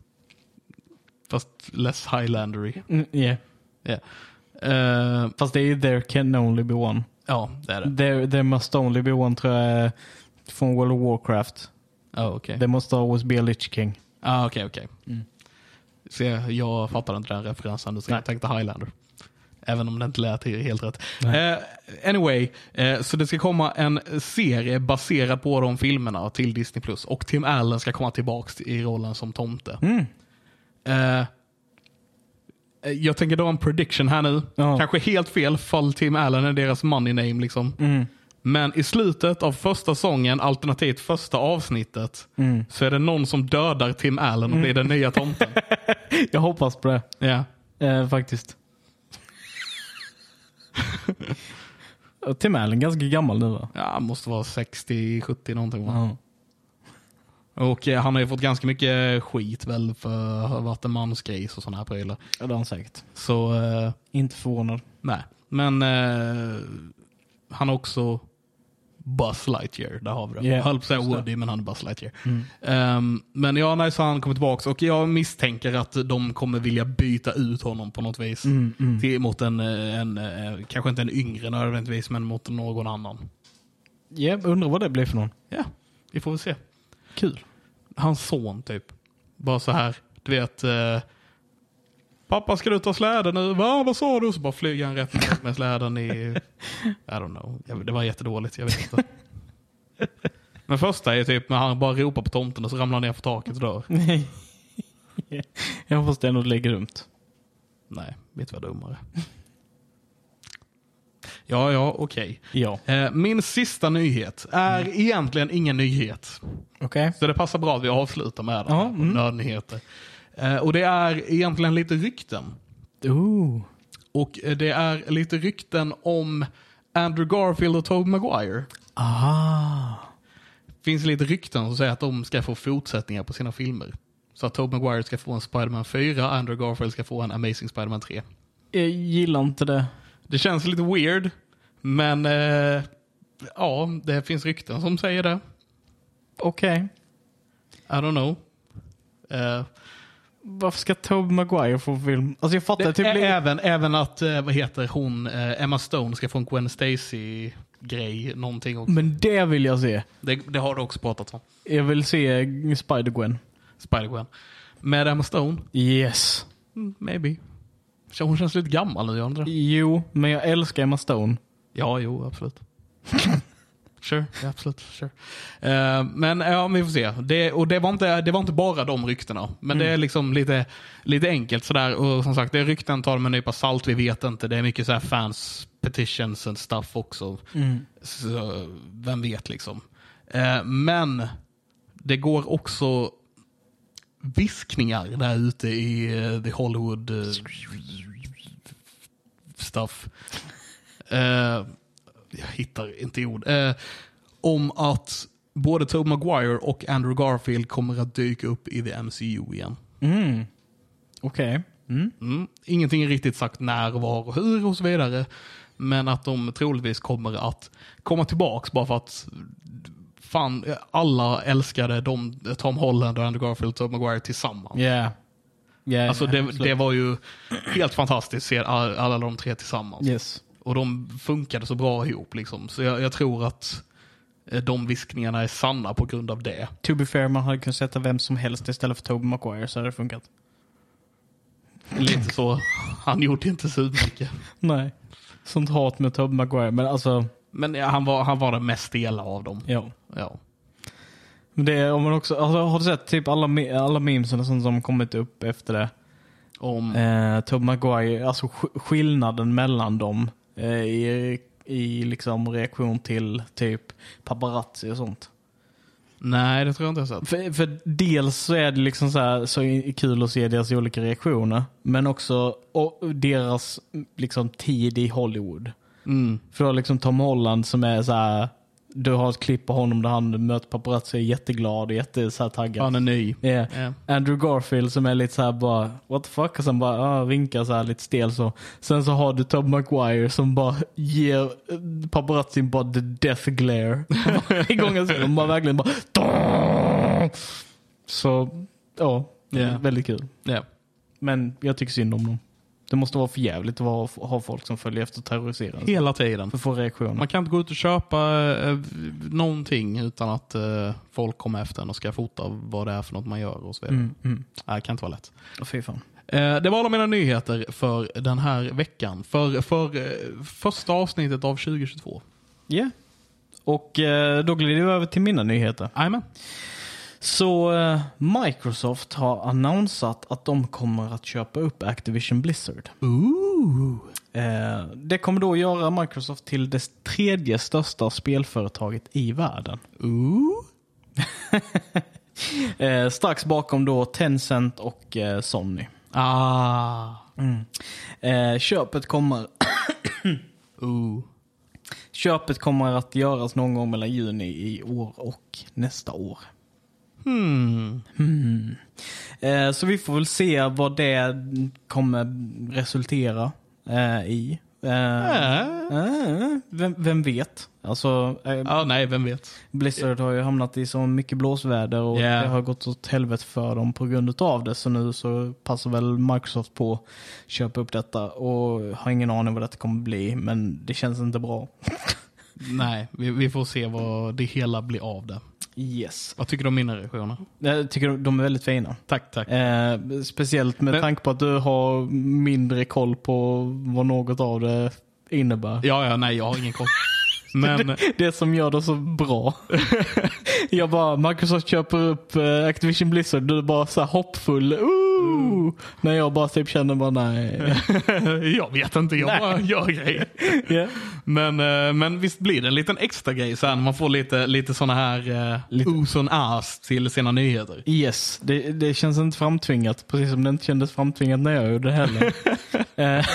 Fast less highlandery. Mm, yeah. Ja. Eh, Fast det är ju There can only be one. ja, det är det. There, there must only be one tror jag är från World of Warcraft. Ja, okej. There must always be a Lich King. Ah, okej, okej. Se, jag fattar inte den referensen, så jag tänkte Highlander. Även om det inte lät helt rätt. Eh, anyway, eh, så det ska komma en serie baserad på de filmerna till Disney+. Plus Och Tim Allen ska komma tillbaka i rollen som tomte. Eh, jag tänker dra en prediction här nu. Ja. Kanske helt fel, fall Tim Allen är deras money name. Liksom. Mm. Men i slutet av första sången, alternativt första avsnittet, mm. så är det någon som dödar Tim Allen och blir den nya tomten. Jag hoppas på det. Ja. Eh, faktiskt. Och Tim Allen är ganska gammal nu va? Ja, han måste vara 60-70 någonting. Va? Ja. Och eh, han har ju fått ganska mycket skit väl för att ha varit en mansgris och sådana här prylar. Ja, det har han säkert. Så eh, Inte förvånad. nej. Men eh, han har också Buzz Lightyear. Där har vi det. Ja, Jag höll på att säga just det. Woody, men han är Buzz Lightyear. Ehm, men ja, nej, så han kommer tillbaka och jag misstänker att de kommer vilja byta ut honom på något vis. Mm, Till, mot en, eh, en, eh, kanske inte en yngre nödvändigtvis, men mot någon annan. Ja, undrar vad det blir för någon. Ja, vi får väl se. Kul. hans son typ. Bara så här, du vet. Eh, Pappa ska du ta släden nu? Va, vad sa du? Så bara flyger han rätt ner med släden i... I don't know. Jag- Det var jättedåligt, jag vet inte. Men första är typ när han bara ropar på tomten och så ramlar han ner för taket och dör. jag hoppas det är något lika dumt. Nej, vet du vad dummare. Ja, ja, okej. Ja. Eh, min sista nyhet är Mm. egentligen ingen nyhet. Okej. Så det passar bra att vi avslutar med den Ja, här på mm. nödnyheter. Eh, och det är egentligen lite rykten. Ooh. Och eh, det är lite rykten om Andrew Garfield och Tobey Maguire. Ah. Det finns lite rykten som säger att de ska få fortsättningar på sina filmer. Så att Tobey Maguire ska få en Spiderman 4, Andrew Garfield ska få en Amazing Spiderman 3. Jag gillar inte det. Det känns lite weird, men eh, ja, det finns rykten som säger det. Okej. I don't know. Eh, Varför ska Tobey Maguire få film? Alltså jag fattar det, typ... ä- lite- även, även att, eh, vad heter hon, eh, Emma Stone ska få en Gwen Stacy-grej, någonting också. Men det vill jag se. Det, det har du också pratat om. Jag vill se Spider-Gwen. Spider-Gwen. Med Emma Stone, Yes. mm, maybe. Så Hon känns lite gammal nu, gör hon inte det? Jo, men jag älskar Emma Stone. Ja, jo, absolut. sure, ja, absolut. Sure. Eh, men ja, men vi får se. Det, och det var, inte, det var inte bara de ryktena. Men det är liksom lite, lite enkelt sådär. Och som sagt, det är rykten, ta det med en nypa salt. Vi vet inte. Det är mycket så här fans petitions and stuff också. Så, vem vet liksom. Eh, men det går också viskningar där ute i eh, the Hollywood eh, stuff. Eh, jag hittar inte ord. Eh, om att både Tobey Maguire och Andrew Garfield kommer att dyka upp i the MCU igen. Okej. Mm. Mm. Ingenting är riktigt sagt när, var och hur och så vidare. Men att de troligtvis kommer att komma tillbaks bara för att fan, alla älskade de, Tom Holland, och Andrew Garfield och Tobey Maguire tillsammans. Yeah. Yeah, Alltså yeah, det, absolut. det var ju helt fantastiskt att se all- alla de tre tillsammans. Yes. Och de funkade så bra ihop. Liksom. Så jag, jag tror att eh, de viskningarna är sanna på grund av det. To be fair, man hade kunnat sätta vem som helst istället för Tobey Maguire så hade det funkat. Lite så. Han gjorde inte så mycket. Nej. Sånt hat med Tobey Maguire, men alltså, Men ja, han var, han var den mest stela av dem. ja. Ja. Men det är om man också, alltså, har du sett typ alla, me- alla memes och sånt som kommit upp efter det? Om, Eh, Tobey Maguire, alltså sk- skillnaden mellan dem eh, i, i liksom reaktion till typ paparazzi och sånt. Nej, det tror jag inte jag sett. För, för dels så är det liksom så, här, så i- kul att se deras olika reaktioner. Men också och deras liksom, tid i Hollywood. Mm. För du har liksom Tom Holland som är så här. Du har ett klipp på honom där han möter paparazzi och är jätteglad och jätte, så här, taggad. Han är ny. Ja. Ja. Andrew Garfield som är lite så här bara what the fuck och sen bara ah, vinkar så här lite stel så. Sen så har du Tom Maguire som bara ger eh, paparazzin bara the death glare. Varje gång jag ser dem bara verkligen bara "Dum!" Så ja, Ja. väldigt kul. Ja. Men jag tycker synd om dem. Det måste vara för jävligt att vara, ha folk som följer efter och terroriserar en. Hela tiden. för att få reaktioner. Man kan inte gå ut och köpa eh, någonting utan att eh, folk kommer efter en och ska fota vad det är för något man gör och så vidare. Mm, mm. Nej, det kan inte vara lätt. Fy fan. Eh, Det var alla mina nyheter för den här veckan. För, för eh, första avsnittet av 2022. Ja. Och eh, då glider vi över till mina nyheter. Jajamän. Så eh, Microsoft har annonsat att de kommer att köpa upp Activision Blizzard. Ooh. Eh, det kommer då göra Microsoft till det tredje största spelföretaget i världen. Ooh. Eh, strax bakom då Tencent och eh, Sony. Ah. Eh, köpet, kommer, Ooh. köpet kommer att göras någon gång mellan juni i år och nästa år. Hmm. Mm. Eh, så vi får väl se vad det kommer resultera eh, i. Eh, Äh. Eh, Vem, vem vet? Alltså, eh, Ja, nej, vem vet. Blizzard har ju hamnat i så mycket blåsväder och Ja. det har gått åt helvete för dem på grund av det. Så nu så passar väl Microsoft på att köpa upp detta och har ingen aning vad detta kommer bli. Men det känns inte bra. Nej, vi, vi får se vad det hela blir av det. Yes. Vad tycker du om mina reaktioner? Jag Eh, tycker de- de är väldigt fina. Tack, tack. Eh, speciellt med Men- tanke på att du har mindre koll på vad något av det innebär. Ja, ja, nej, jag har ingen koll. Men, Det som gör det så bra. jag bara, Microsoft köper upp eh, Activision Blizzard. Du är bara så här hoppfull. Ooh! När jag bara typ känner bara nej. jag vet inte, jag bara gör grejer. Ja. Men, eh, men visst blir det en liten extra grej sen? Man får lite, lite såna här eh, Lite. os och as till sina nyheter. Yes, det, det känns inte framtvingat. Precis som det inte kändes framtvingat när jag gjorde det heller. Eh,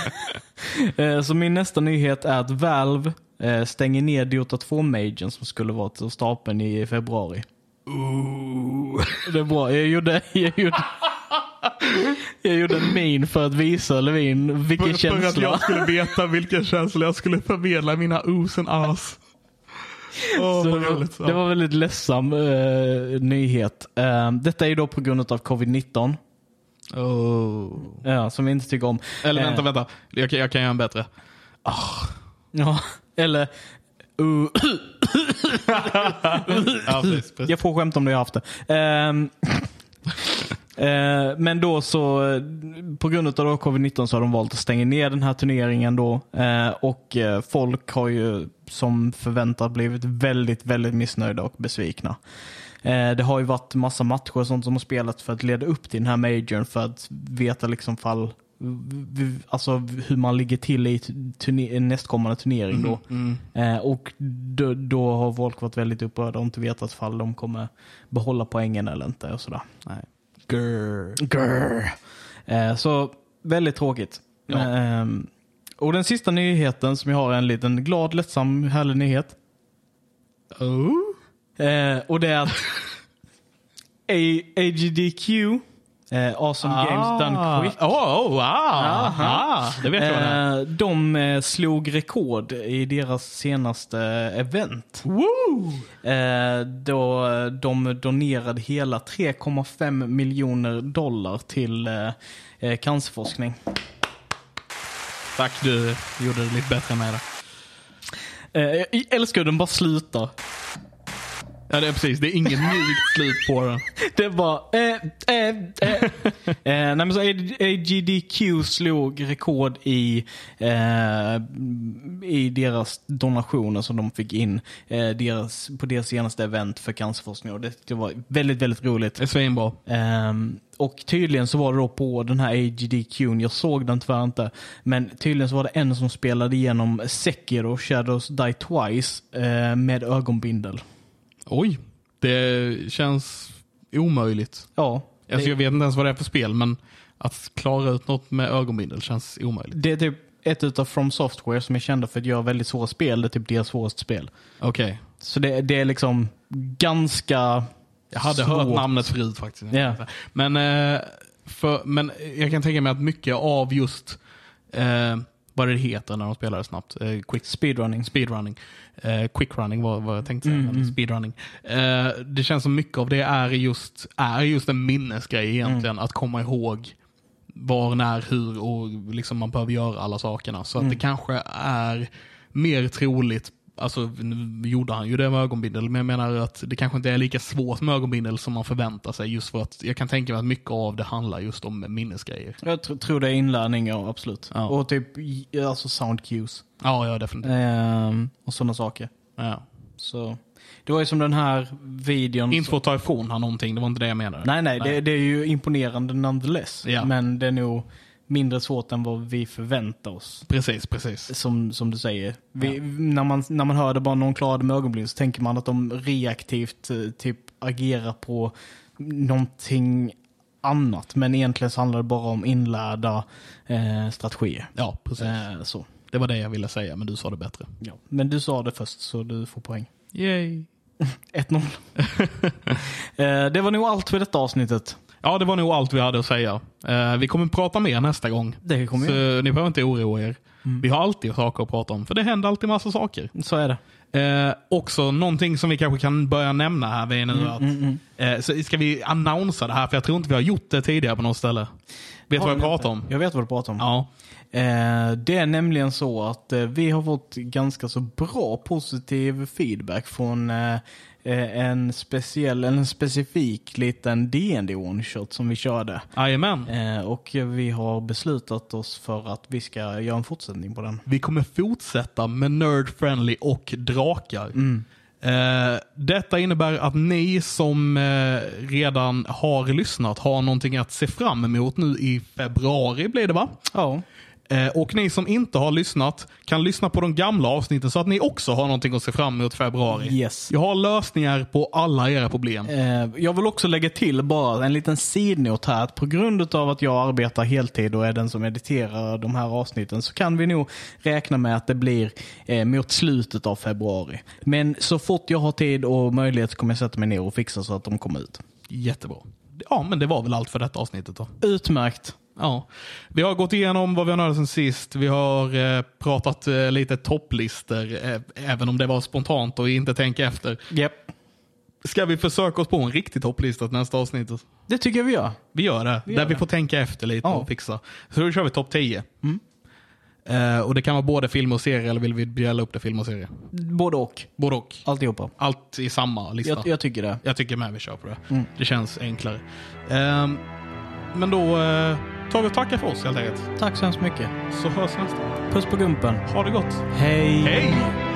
eh, så min nästa nyhet är att Valve eh, stänger ner Dota 2-majorn som skulle vara till stapeln i februari. Ooh. Det är bra. Jag gjorde, jag gjorde, Jag gjorde en min för att visa Levin vilken För, för att känsla. jag skulle veta vilken känsla jag skulle förmedla i mina os and as. Åh, Så vad det, roligt. var, det var en väldigt ledsam eh, nyhet. Eh, detta är ju då på grund av covid-19. Oh. Ja, som vi inte tycker om. Eller vänta, Eh, vänta. Jag, kan- jag kan göra en bättre. Ja, eller... Uh, Ja, precis, precis. jag får skämta om det jag haft det. Ehm, eh, men då så, eh, på grund av då covid-19 så har de valt att stänga ner den här turneringen då. Eh, och eh, folk har ju som förväntat blivit väldigt, väldigt missnöjda och besvikna. Eh, Det har ju varit massa matcher och sånt som har spelats för att leda upp till den här majorn för att veta liksom fall, v- alltså hur man ligger till i turne- nästkommande turnering Mm. då. Eh, Och då, då har folk varit väldigt upprörda och inte vetat fall de kommer behålla poängen eller inte och sådär. Nej. Grr. Grr. Eh, Så väldigt tråkigt. Ja. Ehm, Och den sista nyheten som jag har är en liten glad, lättsam, härlig nyhet. Oh. Eh, och det är att A- AGDQ, eh, Awesome Ah. Games Done Quick, Oh, oh, wow. Aha. Ah, Det vet jag vad det är. eh, de eh, slog rekord i deras senaste event. Woo! Eh, då eh, de donerade hela 3,5 miljoner dollar till eh, eh, cancerforskning. Tack, du gjorde det lite bättre med det. Eh, jag älskar hur den bara slutar. Ja, det är precis. Det är inget mjukt slut på den. Det var... Eh, eh, eh. eh, nej, men så AGDQ slog rekord i, eh, i deras donationer som de fick in eh, deras, på deras senaste event för cancerforskning. Och det, det var väldigt, väldigt roligt. Det är svinbra. Ehm, och tydligen så var det då på den här AGDQ, n, jag såg den tyvärr inte, men tydligen så var det en som spelade igenom Sekiro Shadows Die Twice eh, med ögonbindel. Oj. Det känns omöjligt. Ja. Alltså, jag vet inte ens vad det är för spel, men att klara ut något med ögonbindel känns omöjligt. Det är typ ett utav From Software som är kända för att göra väldigt svåra spel. Det är typ deras svåraste spel. Okej. Så det, det är liksom ganska... Jag hade svårt. hört namnet förut faktiskt. Ja. Men, eh, för, men jag kan tänka mig att mycket av just eh, vad det heter när de spelar snabbt, eh, quick Speedrunning. speedrunning, eh, quickrunning var vad jag tänkte säga, Mm, men speedrunning. Eh, det känns som mycket av det är just, är just en minnesgrej egentligen, Mm. att komma ihåg var, när, hur och liksom man behöver göra alla sakerna. Så Mm. att det kanske är mer troligt, alltså nu gjorde han ju det med ögonbindel, men jag menar att det kanske inte är lika svårt med ögonbindel som man förväntar sig just för att jag kan tänka mig att mycket av det handlar just om minnesgrejer. Jag tr- tror det är inlärning, ja absolut. Ja. Och typ i- alltså sound cues. Ja, ja definitivt. Ehm, och sådana saker. Ja. Så. Det var ju som den här videon. Inte för att ta ifrån han någonting, det var inte det jag menade. Nej, nej, Det, det är ju imponerande nonetheless. Ja. Men det är nog mindre svårt än vad vi förväntar oss. Precis, precis. som, som du säger. Vi, när, man, när man hör det bara någon klarade med ögonbryn så tänker man att de reaktivt eh, typ agerar på någonting annat. Men egentligen så handlar det bara om inlärda eh, strategier. Ja, precis. Eh, så. Det var det jag ville säga, men du sa det bättre. Ja. Men du sa det först så du får poäng. Yay. 1-0. eh, det var nog allt för detta avsnittet. Ja, det var nog allt vi hade att säga. Eh, vi kommer prata mer nästa gång. Det kommer Så så... ni behöver inte oroa er. Vi har alltid saker att prata om, för det händer alltid massa saker. så är det. Eh, också någonting som vi kanske kan börja nämna här vi är nu. att, Eh, så ska vi annonsa det här? För jag tror inte vi har gjort det tidigare på något ställe. Vet du vad jag pratar om? Jag vet vad du pratar om. Ja. Eh, Det är nämligen så att eh, vi har fått ganska så bra positiv feedback från eh, eh, en speciell, eller en specifik liten dd one shot som vi körde. Jajamän. Eh, Och vi har beslutat oss för att vi ska göra en fortsättning på den. Vi kommer fortsätta med Nerd Friendly och drakar. Eh, detta innebär att ni som eh, redan har lyssnat har någonting att se fram emot nu i februari blir det va? Ja. Eh, och ni som inte har lyssnat kan lyssna på de gamla avsnitten så att ni också har någonting att se fram emot i februari. Yes. Jag har lösningar på alla era problem. Eh, Jag vill också lägga till bara en liten sidnot här. Att på grund av att jag arbetar heltid och är den som editerar de här avsnitten så kan vi nog räkna med att det blir eh, mot slutet av februari. Men så fort jag har tid och möjlighet så kommer jag sätta mig ner och fixa så att de kommer ut. Jättebra. ja, men det var väl allt för detta avsnittet då. Utmärkt. Ja. Vi har gått igenom vad vi har nördat sen sist. Vi har eh, pratat eh, lite topplistor, eh, även om det var spontant och vi inte tänka efter. Yep. Ska vi försöka oss på en riktig topplista till nästa avsnitt? Det tycker jag vi gör. Vi gör det. Vi där gör vi det. får tänka efter lite Ja. Mm. och fixa. Så då kör vi topp 10. Eh, och det kan vara både film och serie, eller vill vi dela upp det film och serie? Både och. Både och. Alltihopa. Allt i samma lista. Jag, Mm. jag tycker det. Jag tycker med vi kör på det. Det känns enklare. Ehm, men då eh, tar vi och tackar för oss helt enkelt. Tack så hemskt mycket. Så hörs nästa. Puss på gumpen. Ha det gott. Hej. Hej!